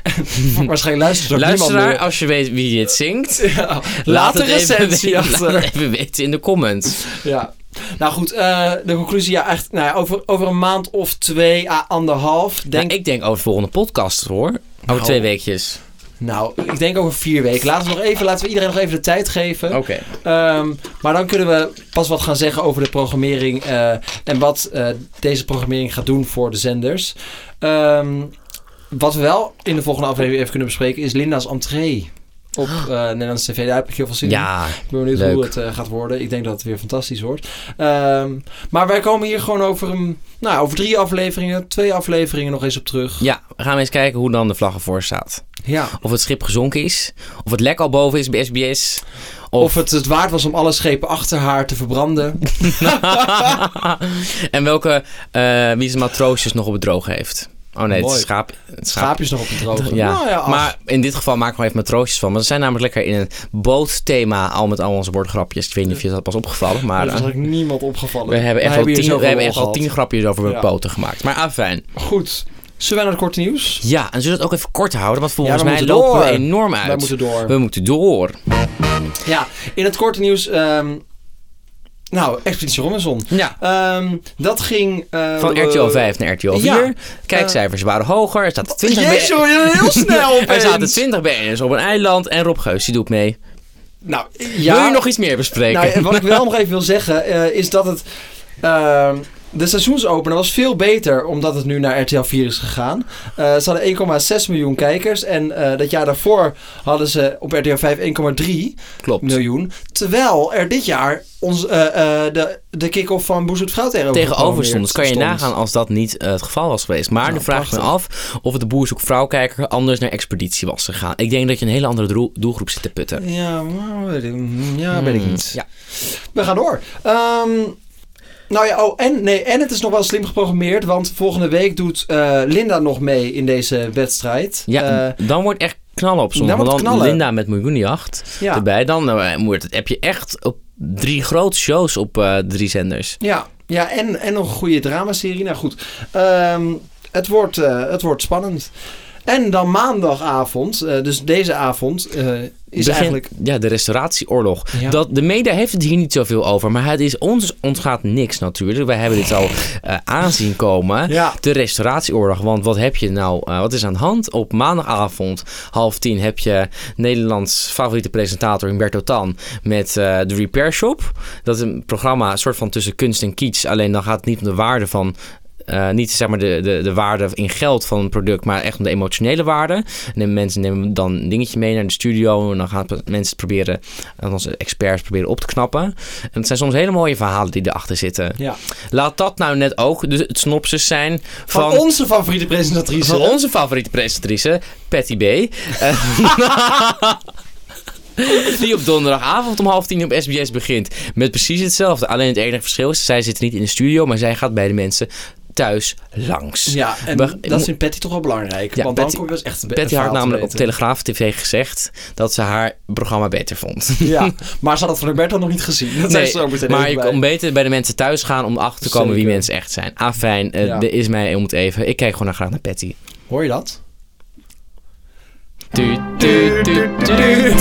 A: waarschijnlijk luistert er ook niemand
B: Luisteraar,
A: meer.
B: als je weet wie dit zingt,
A: Ja,
B: laat
A: laat
B: het
A: een
B: even
A: recensie
B: weten- laat
A: achter.
B: het even weten in de comments.
A: Ja. Nou goed, eh, de conclusie, ja, echt, nou ja, over, over een maand of twee, à anderhalf, denk Oh.
B: Nou, ik denk over de volgende podcast hoor. Over twee weekjes.
A: Nou, ik denk over vier weken. Laten we, nog even, laten we iedereen nog even de tijd geven.
B: Oké.
A: Ehm, maar dan kunnen we pas wat gaan zeggen over de programmering. eh, en wat eh, deze programmering gaat doen voor de zenders. Ehm, wat we wel in de volgende aflevering even kunnen bespreken is Linda's entree. op eh Nederlandse tv. Daar heb ik heel veel zin in.
B: Oh. Ja,
A: Ik ben benieuwd
B: Leuk.
A: hoe het eh, gaat worden. Ik denk dat het weer fantastisch wordt. Ehm, maar wij komen hier gewoon over, een, nou, over drie afleveringen, twee afleveringen nog eens op terug.
B: ja, we gaan eens kijken hoe dan de vlag ervoor staat.
A: Ja.
B: Of het schip gezonken is. Of het lek al boven is bij SBS. Of,
A: Of het het waard was om alle schepen achter haar te verbranden.
B: en welke eh wie zijn matroosjes nog op het droog heeft. Oh nee, het
A: Mooi.
B: is schaap. Het schaap.
A: Schaapjes nog op het droge.
B: Ja.
A: Nou ja, ach.
B: maar in dit geval maken we even matroosjes van. Maar ze zijn namelijk lekker in een bootthema al met al onze woordgrapjes. Ik weet niet of je dat pas opgevallen, maar...
A: dat is
B: eh,
A: eigenlijk niemand opgevallen.
B: we hebben echt,
A: al
B: al, tien, we hebben echt al tien grapjes over mijn
A: Ja.
B: poten gemaakt. Maar afijn.
A: Goed. Zullen wij naar het korte nieuws?
B: Ja, en zullen we het ook even kort houden? Want volgens
A: we
B: mij
A: moeten
B: lopen we
A: door.
B: enorm uit.
A: Wij moeten door.
B: We moeten door.
A: Ja, in het korte nieuws... ehm, nou, Expeditie Robinson.
B: Ja.
A: Ehm, dat ging... eh,
B: Van
A: eh,
B: RTL 5 naar RTL 4.
A: Ja. Eh,
B: Kijkcijfers waren hoger. Er zaten 20
A: Jezus,
B: bij...
A: we zijn heel snel
B: Er zaten
A: opeens.
B: 20 BN'ers op een eiland en Rob Geus, die doet mee.
A: Nou, ja.
B: Wil je nog iets meer bespreken?
A: Nou, en wat ik wel nog even wil zeggen, eh, is dat het. ehm, de seizoensopener was veel beter omdat het nu naar RTL 4 is gegaan. Eh, ze hadden 1,6 miljoen kijkers. En eh, dat jaar daarvoor hadden ze op RTL 5 1,3
B: Klopt.
A: miljoen. Terwijl er dit jaar ons, eh, eh, de, de kick-off van Boezet Vrouw tegenover,
B: Tegenover stond. Dus
A: stond.
B: kan je nagaan als dat niet eh, het geval was geweest. Maar nu vraag ik me af of de boer zoekt vrouwkijker anders naar expeditie was gegaan. Ik denk dat je een hele andere doel- doelgroep zit te putten. Hmm.
A: Ja, maar weet ik- ja, weet ik niet.
B: Ja.
A: We gaan door. Ehm, nou ja, oh, en, nee, en het is nog wel slim geprogrammeerd. Want volgende week doet eh, Linda nog mee in deze wedstrijd.
B: ja
A: Eh,
B: dan wordt echt knallen op zondag.
A: dan
B: Want
A: wordt
B: dan
A: knallen.
B: Linda met miljoenenjacht
A: Ja.
B: erbij. Dan eh, moet het, heb je echt op drie grote shows op eh, drie zenders.
A: ja, ja en, en nog een goede dramaserie. Nou goed, Ehm, het, wordt, eh, het wordt spannend. En dan maandagavond, eh, dus deze avond, eh, is
B: Begin-
A: eigenlijk...
B: Ja, de restauratieoorlog.
A: Ja.
B: Dat, de media heeft het hier niet zoveel over. Maar het is ons ontgaat niks natuurlijk. Wij hebben dit al eh, aanzien komen.
A: Ja.
B: De restauratieoorlog. Want wat heb je nou? eh, wat is aan de hand? Op maandagavond half tien heb je Nederlands favoriete presentator Humberto Tan met eh de Repair Shop. Dat is een programma, een soort van tussen kunst en kitsch. Alleen dan gaat het niet om de waarde van. eh, niet zeg maar de, de, de waarde in geld van een product, maar echt om de emotionele waarde. En de mensen nemen dan een dingetje mee naar de studio. En dan gaan mensen het proberen, althans experts proberen op te knappen. En het zijn soms hele mooie verhalen die erachter zitten.
A: Ja.
B: Laat dat nou net ook dus het snopsus zijn
A: Van,
B: van,
A: onze favoriete presentatrice.
B: van onze favoriete presentatrice, Patty B. Eh, Die op donderdagavond om half tien op SBS begint. Met precies hetzelfde. Alleen het enige verschil is, zij zit niet in de studio, maar zij gaat bij de mensen thuis langs.
A: Ja, en
B: We-
A: dat vindt Patty toch wel belangrijk.
B: Ja,
A: want
B: Patty-
A: dan kom je dus echt een be-
B: Patty
A: een
B: had
A: verhaal te
B: namelijk op
A: weten.
B: Telegraaf TV gezegd dat ze haar programma beter vond.
A: Ja, maar ze had het van Humberto nog niet gezien. Dat zei
B: Nee,
A: ze er ook meteen
B: maar
A: even
B: je
A: bij.
B: kan beter bij de mensen thuis gaan om achter te komen wie
A: Zeker.
B: mensen echt zijn. Ah, fijn. eh,
A: Ja.
B: dit is mij om het even. Ik kijk gewoon naar graag naar Patty.
A: Hoor je dat?
B: Du, du, du, du, du.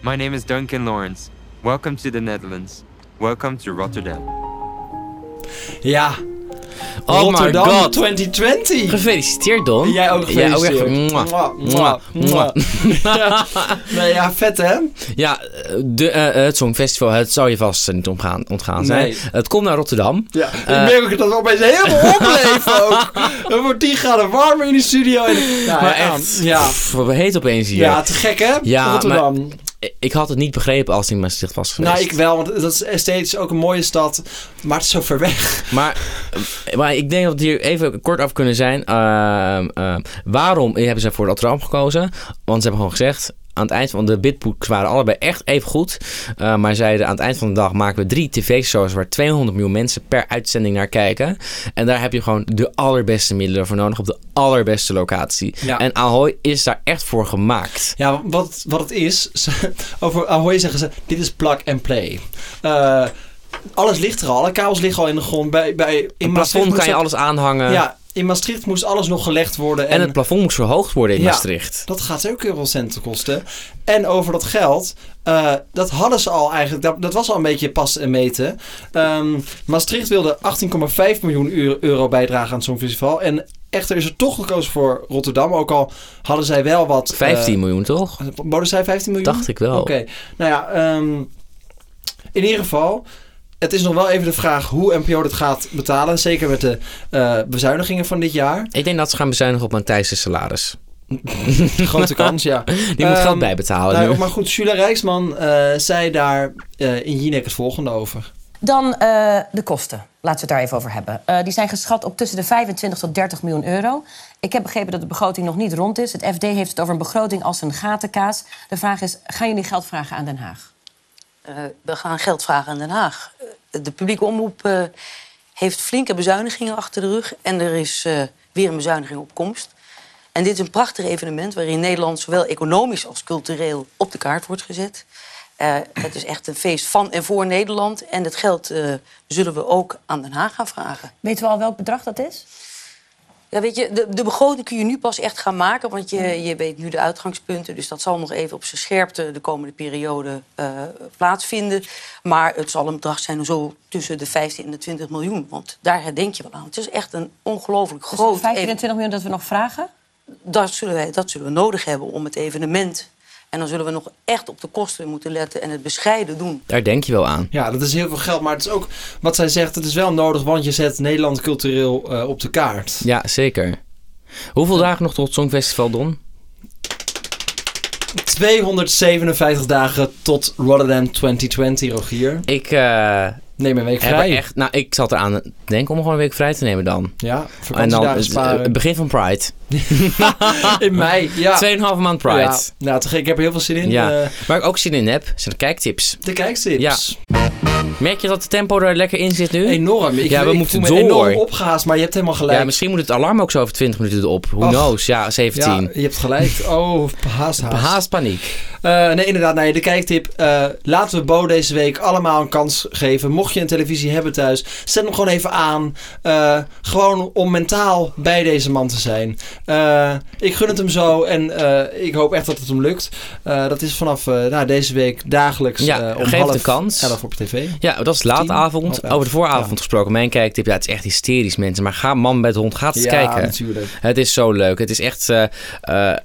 J: My name is Duncan Lawrence. Welcome to the Netherlands. Welcome to Rotterdam.
A: Ja,
B: Oh
A: Rotterdam
B: my god.
A: 2020.
B: Gefeliciteerd, Don.
A: Jij ook
B: Jij ook echt.
A: gefeliciteerd.
B: Mwah,
A: Mwah,
B: mwah, mwah.
A: ja. Nee, ja, vet hè?
B: Ja, eh, de, eh, het Songfestival, het zou je vast eh, niet ontgaan, ontgaan zijn.
A: Nee.
B: Het komt naar Rotterdam.
A: Ja. Eh. ik merk ook dat we opeens helemaal opleven ook. Het wordt 10 graden warmer in de studio. En, Ja,
B: Maar
A: ja,
B: echt,
A: Ja.
B: pff, wat heet opeens hier.
A: Ja, te gek hè?
B: Ja,
A: Rotterdam.
B: Ik- Ik had het niet begrepen als het in Maastricht was geweest.
A: nou, ik wel, want dat is steeds ook een mooie stad. Maar het is zo ver weg.
B: Maar, maar ik denk dat we hier even kort af kunnen zijn. Ehm, ehm, waarom hebben ze voor Rotterdam gekozen? Want ze hebben gewoon gezegd... Aan het eind van de bidboeks waren allebei echt even goed. eh, maar zeiden aan het eind van de dag maken we drie tv-shows waar 200 miljoen mensen per uitzending naar kijken. En daar heb je gewoon de allerbeste middelen voor nodig op de allerbeste locatie.
A: Ja.
B: En Ahoy is daar echt voor gemaakt.
A: Ja, wat, wat het is, ze- over Ahoy zeggen ze, dit is plug and play. Eh, alles ligt er al, alle kabels liggen al in de grond. Bij, bij, in
B: In
A: Maastricht
B: plafond
A: moest
B: kan je
A: dat-
B: alles aanhangen.
A: Ja, in Maastricht moest alles nog gelegd worden.
B: En het plafond moest verhoogd worden in
A: Ja.
B: Maastricht.
A: Dat gaat ook heel veel centen kosten. En over dat geld, eh, dat hadden ze al eigenlijk, dat, dat was al een beetje pas en meten. Ehm, Maastricht wilde 18,5 miljoen euro, euro bijdragen aan het Songfestival. En echter is er toch gekozen voor Rotterdam, ook al hadden zij wel wat... eh,
B: 15 miljoen toch?
A: Boden zij 15 miljoen?
B: Oh. Dacht ik wel.
A: Oké, nou ja, ehm, In ieder geval, het is nog wel even de vraag hoe NPO dit gaat betalen. Zeker met de eh, bezuinigingen van dit jaar.
B: Ik denk dat ze gaan bezuinigen op Matthijs' salaris.
A: Grote kans, ja.
B: Die moet
A: Ehm,
B: geld bijbetalen
A: Nou,
B: nu.
A: maar goed, Julia Rijksman eh, zei daar eh, in Jinek het volgende over.
E: Dan eh, de kosten. Laten we het daar even over hebben. Eh, die zijn geschat op tussen de 25 tot 30 miljoen euro. Ik heb begrepen dat de begroting nog niet rond is. Het FD heeft het over een begroting als een gatenkaas. De vraag is, gaan jullie geld vragen aan Den Haag?
K: Eh, we gaan geld vragen aan Den Haag. Eh, De publieke omroep eh, heeft flinke bezuinigingen achter de rug. En er is eh, weer een bezuiniging op komst. En dit is een prachtig evenement waarin Nederland zowel economisch als cultureel op de kaart wordt gezet. Eh, het is echt een feest van en voor Nederland. En dat geld eh, zullen we ook aan Den Haag gaan vragen.
E: Weten we al welk bedrag dat is? Dus
K: Ja, weet je, de, de begroting kun je nu pas echt gaan maken, want je, je weet nu de uitgangspunten. Dus dat zal nog even op zijn scherpte de komende periode eh, plaatsvinden. Maar het zal een bedrag zijn zo tussen de 15 en de 20 miljoen. Want daar herdenk je wel aan. Het is echt een ongelooflijk
E: Dus
K: groot
E: 15 en
K: even-
E: 20 miljoen dat we nog vragen?
K: dat zullen, wij, dat zullen we nodig hebben om het evenement. En dan zullen we nog echt op de kosten moeten letten en het bescheiden doen.
B: Daar denk je wel aan.
A: Ja, dat is heel veel geld, maar het is ook wat zij zegt. Het is wel nodig, want je zet Nederland cultureel eh, op de kaart.
B: Ja, zeker. Hoeveel dagen nog tot het Songfestival, Don?
A: 257 dagen tot Rotterdam 2020, Rogier.
B: Ik eh,
A: Neem een week
B: heb er
A: vrij.
B: echt... Nou, ik zat eraan te denken om gewoon een week vrij te nemen dan.
A: Ja,
B: En dan
A: vakantiedagen
B: het,
A: sparen. Ah,
B: het begin van Pride.
A: In mei, ja.
B: Tweeënhalve maand Pride.
A: Ja, nou, te gek. Ik heb er heel veel zin in.
B: Ja.
A: Eh,
B: Waar ik ook zin in heb, zijn de kijktips.
A: de kijkstips.
B: Ja. Merk je dat de tempo er lekker in zit nu?
A: Enorm. Ik,
B: Ja, we
A: ik
B: moeten
A: voel me
B: door.
A: enorm opgehaast, maar je hebt helemaal gelijk.
B: Ja, misschien moet het alarm ook zo over 20 minuten erop. Who
A: Ach.
B: knows? Ja, 17.
A: Ja, je hebt gelijk. Oh, haast, haast.
B: Haast paniek.
A: Eh, nee, inderdaad. Nee, de kijktip. Eh, laten we Bo deze week allemaal een kans geven. Mocht je een televisie hebben thuis, zet hem gewoon even aan. Eh, gewoon om mentaal bij deze man te zijn. Eh, ik gun het hem zo en eh, ik hoop echt dat het hem lukt. Eh, dat is vanaf eh, nou, deze week dagelijks
B: Ja,
A: eh, om
B: geef
A: half
B: de kans.
A: elf op tv.
B: Ja, dat is
A: half
B: laatavond.
A: elf.
B: Over de vooravond gesproken. Mijn kijktip, ja, het is echt hysterisch, mensen. Maar ga man bij de hond, ga het eens
A: ja,
B: kijken.
A: natuurlijk.
B: Het is zo leuk. Het is echt eh, eh,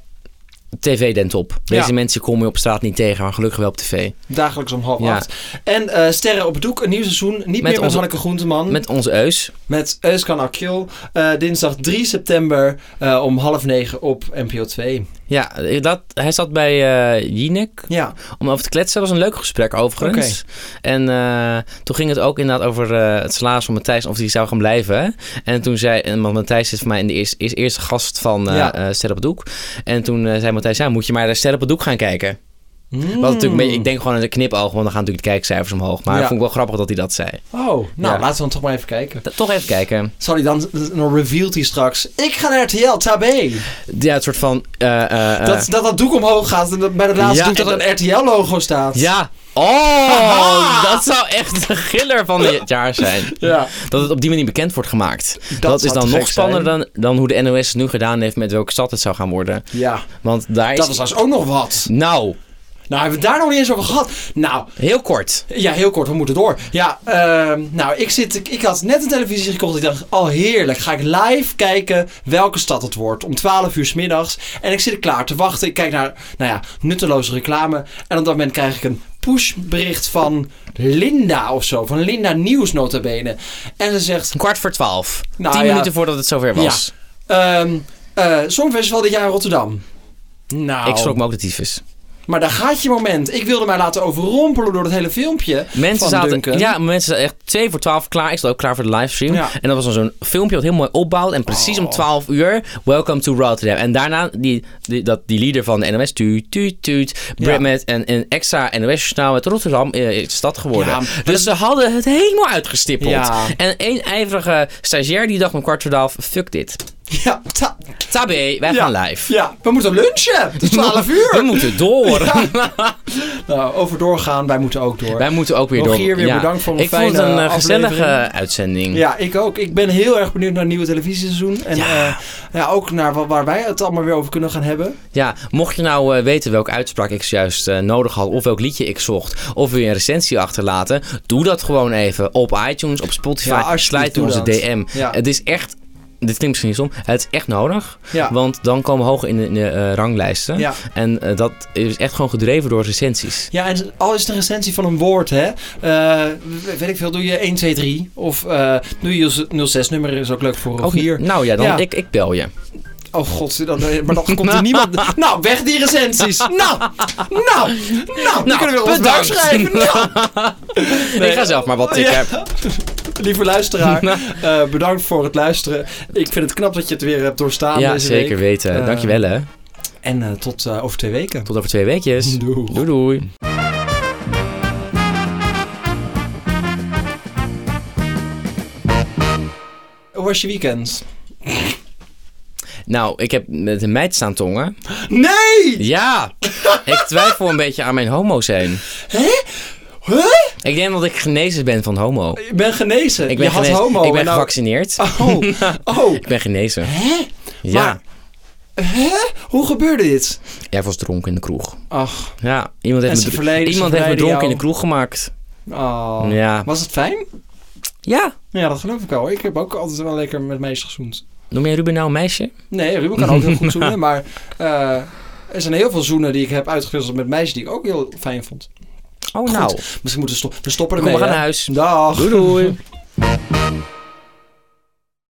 B: tv den top. Deze
A: Ja.
B: mensen kom je op straat niet tegen, maar gelukkig wel op tv.
A: Dagelijks om half
B: Ja.
A: acht. En eh, Sterren op het Doek, een nieuw seizoen. Niet meer met
B: onze-
A: Hanneke Groenteman.
B: Met onze Eus.
A: Met Euskan Akil. eh, dinsdag 3 september eh, om half negen op NPO 2.
B: Ja, eh, dat, hij zat bij eh Jinek
A: Ja,
B: om over te kletsen. Dat was een leuk gesprek overigens. En eh, toen ging het ook inderdaad over eh, het salaris van Matthijs, of die zou gaan blijven. En toen zei, en want Matthijs is voor mij in de eerste, is eerste gast van eh
A: Ja.
B: eh, Ster op het Doek. En toen eh, zei Matthijs, ja, moet je maar naar Ster op het Doek gaan kijken. Wat natuurlijk een beetje, ik denk gewoon aan de knipoog, want dan gaan natuurlijk de kijkcijfers omhoog. Maar
A: Ja.
B: ik vond ik wel grappig dat hij dat zei.
A: Oh, nou
B: Ja.
A: laten we dan toch maar even kijken.
B: T- Toch even kijken.
A: Zal hij dan, dan revealt hij straks, ik ga naar RTL, tabé.
B: Ja, het soort van. eh, eh, eh,
A: Dat, dat dat doek omhoog gaat en dat bij de laatste
B: Ja,
A: doek dat
B: en
A: er een RTL-logo staat.
B: Ja. Oh, dat zou echt de giller van het jaar zijn.
A: Ja.
B: Dat het op die manier bekend wordt gemaakt. Dat, is
A: zou
B: dan
A: te
B: nog
A: gek zijn.
B: spannender dan, dan hoe de NOS het nu gedaan heeft met welke stad het zou gaan worden.
A: Ja.
B: Want daar is...
A: Dat was trouwens ook nog wat.
B: Nou,
A: Nou, hebben we het daar nog niet eens over gehad. Nou,
B: heel kort.
A: ja, heel kort, we moeten door. Ja, ehm, nou, ik, zit, ik, ik had net een televisie gekocht. Ik dacht, al heerlijk, ga ik live kijken welke stad het wordt. Om 12 uur 's middags. En ik zit er klaar te wachten. Ik kijk naar, nou ja, nutteloze reclame. En op dat moment krijg ik een pushbericht van Linda of zo. Van Linda Nieuws nota bene. En ze zegt,
B: Kwart voor twaalf.
A: Nou,
B: Tien
A: ja.
B: minuten voordat het zover was.
A: Ehm eh Songfestival dit jaar in Rotterdam. Nou,
B: Ik schrok me ook de tyfus.
A: maar daar gaat je moment. Ik wilde mij laten overrompelen door dat hele filmpje
B: Mensen
A: van
B: zaten,
A: Duncan.
B: ja, mensen zaten echt twee voor twaalf klaar. Ik zat ook klaar voor de livestream.
A: Ja. Oh.
B: En dat was dan zo'n filmpje wat heel mooi opbouwt. En precies om twaalf uur, welcome to Rotterdam. En daarna die, die, dat, die lieder van de NOS, tuut, tuut, tuut.
A: Ja.
B: Brit met een, een extra NOS-journaal met Rotterdam eh, is stad geworden.
A: Ja,
B: dus ze hadden het helemaal uitgestippeld.
A: Ja.
B: En één ijverige stagiair die dacht om kwart voor twaalf, fuck dit.
A: Ja, ta-
B: Tabé, wij
A: ja,
B: gaan live.
A: Ja, we moeten lunchen. Het is 12 uur.
B: We moeten door.
A: Nou, over doorgaan, wij moeten ook door.
B: Wij moeten ook weer
A: Rogier,
B: door.
A: weer bedankt voor een
B: Ik vond het
A: fijne
B: een eh, gezellige
A: aflevering.
B: uitzending.
A: Ja, ik ook. Ik ben heel erg benieuwd naar het nieuwe televisieseizoen. En ja. ja, ook naar wat, waar wij het allemaal weer over kunnen gaan hebben.
B: Ja, mocht je nou eh, weten welke uitspraak ik zojuist eh, nodig had, of welk liedje ik zocht, of wil je een recensie achterlaten, doe dat gewoon even op iTunes, op Spotify.
A: Ja, alsjeblieft,
B: sluit
A: doe
B: onze
A: dat.
B: DM.
A: Ja.
B: Het is echt dit klinkt misschien niet stom, het is echt nodig.
A: Ja.
B: Want dan komen we hoger in de, in de, eh, ranglijsten.
A: Ja.
B: En eh, dat is echt gewoon gedreven door recensies.
A: Ja, en al is het een recensie van een woord, hè. Eh, weet ik veel, doe je 1, 2, 3. Of eh, doe je 06-nummer, is ook leuk voor
B: Ook
A: Rogier.
B: Nou ja, dan,
A: Ja.
B: Ik, ik bel je.
A: Oh god, dan, maar dan komt er niemand... Nou, weg die recensies! Nou, nou, nou, die kunnen we op ons buik
B: bedankt.
A: schrijven. Nou.
B: Ik ga zelf maar wat ik
A: Ja.
B: heb.
A: Lieve luisteraar, eh, bedankt voor het luisteren. Ik vind het knap dat je het weer hebt doorstaan
B: ja,
A: deze
B: zeker
A: week.
B: weten.
A: Eh,
B: Dankjewel hè.
A: En eh, tot eh, over twee weken.
B: Tot over twee weekjes. Doei doei.
A: Hoe was je weekend?
B: Nou, ik heb met een meid staan tongen.
A: Nee!
B: Ja! ik twijfel een beetje aan mijn homo zijn.
A: Hè? Huh?
B: Ik denk dat ik genezen ben van homo.
A: Ik ben genezen.
B: Ik ben
A: je had
B: genezen.
A: homo.
B: Ik ben
A: en nou-
B: gevaccineerd.
A: Oh, oh.
B: Ik ben genezen.
A: Hè?
B: Ja.
A: Maar- Hè? Hoe gebeurde dit?
B: Jij was dronken in de kroeg.
A: Ach.
B: Ja, iemand
A: En
B: heeft,
A: ze
B: me, dro-
A: verleiden- ze
B: iemand heeft me
A: verleiden
B: dronken
A: jou.
B: in de kroeg gemaakt.
A: Oh.
B: Ja.
A: Was het fijn?
B: Ja.
A: Ja, dat geloof ik wel. Ik heb ook altijd wel lekker met meisjes gezoend.
B: Noem jij Ruben nou een meisje?
A: Nee, Ruben kan ook heel goed zoenen, maar eh, er zijn heel veel zoenen die ik heb uitgewisseld met meisjes die ik ook heel fijn vond.
B: Oh,
A: Goed,
B: nou.
A: Misschien moeten we, stop we stoppen
B: Kom,
A: ermee.
B: we gaan
A: hè?
B: naar huis.
A: Dag.
B: Doei doei.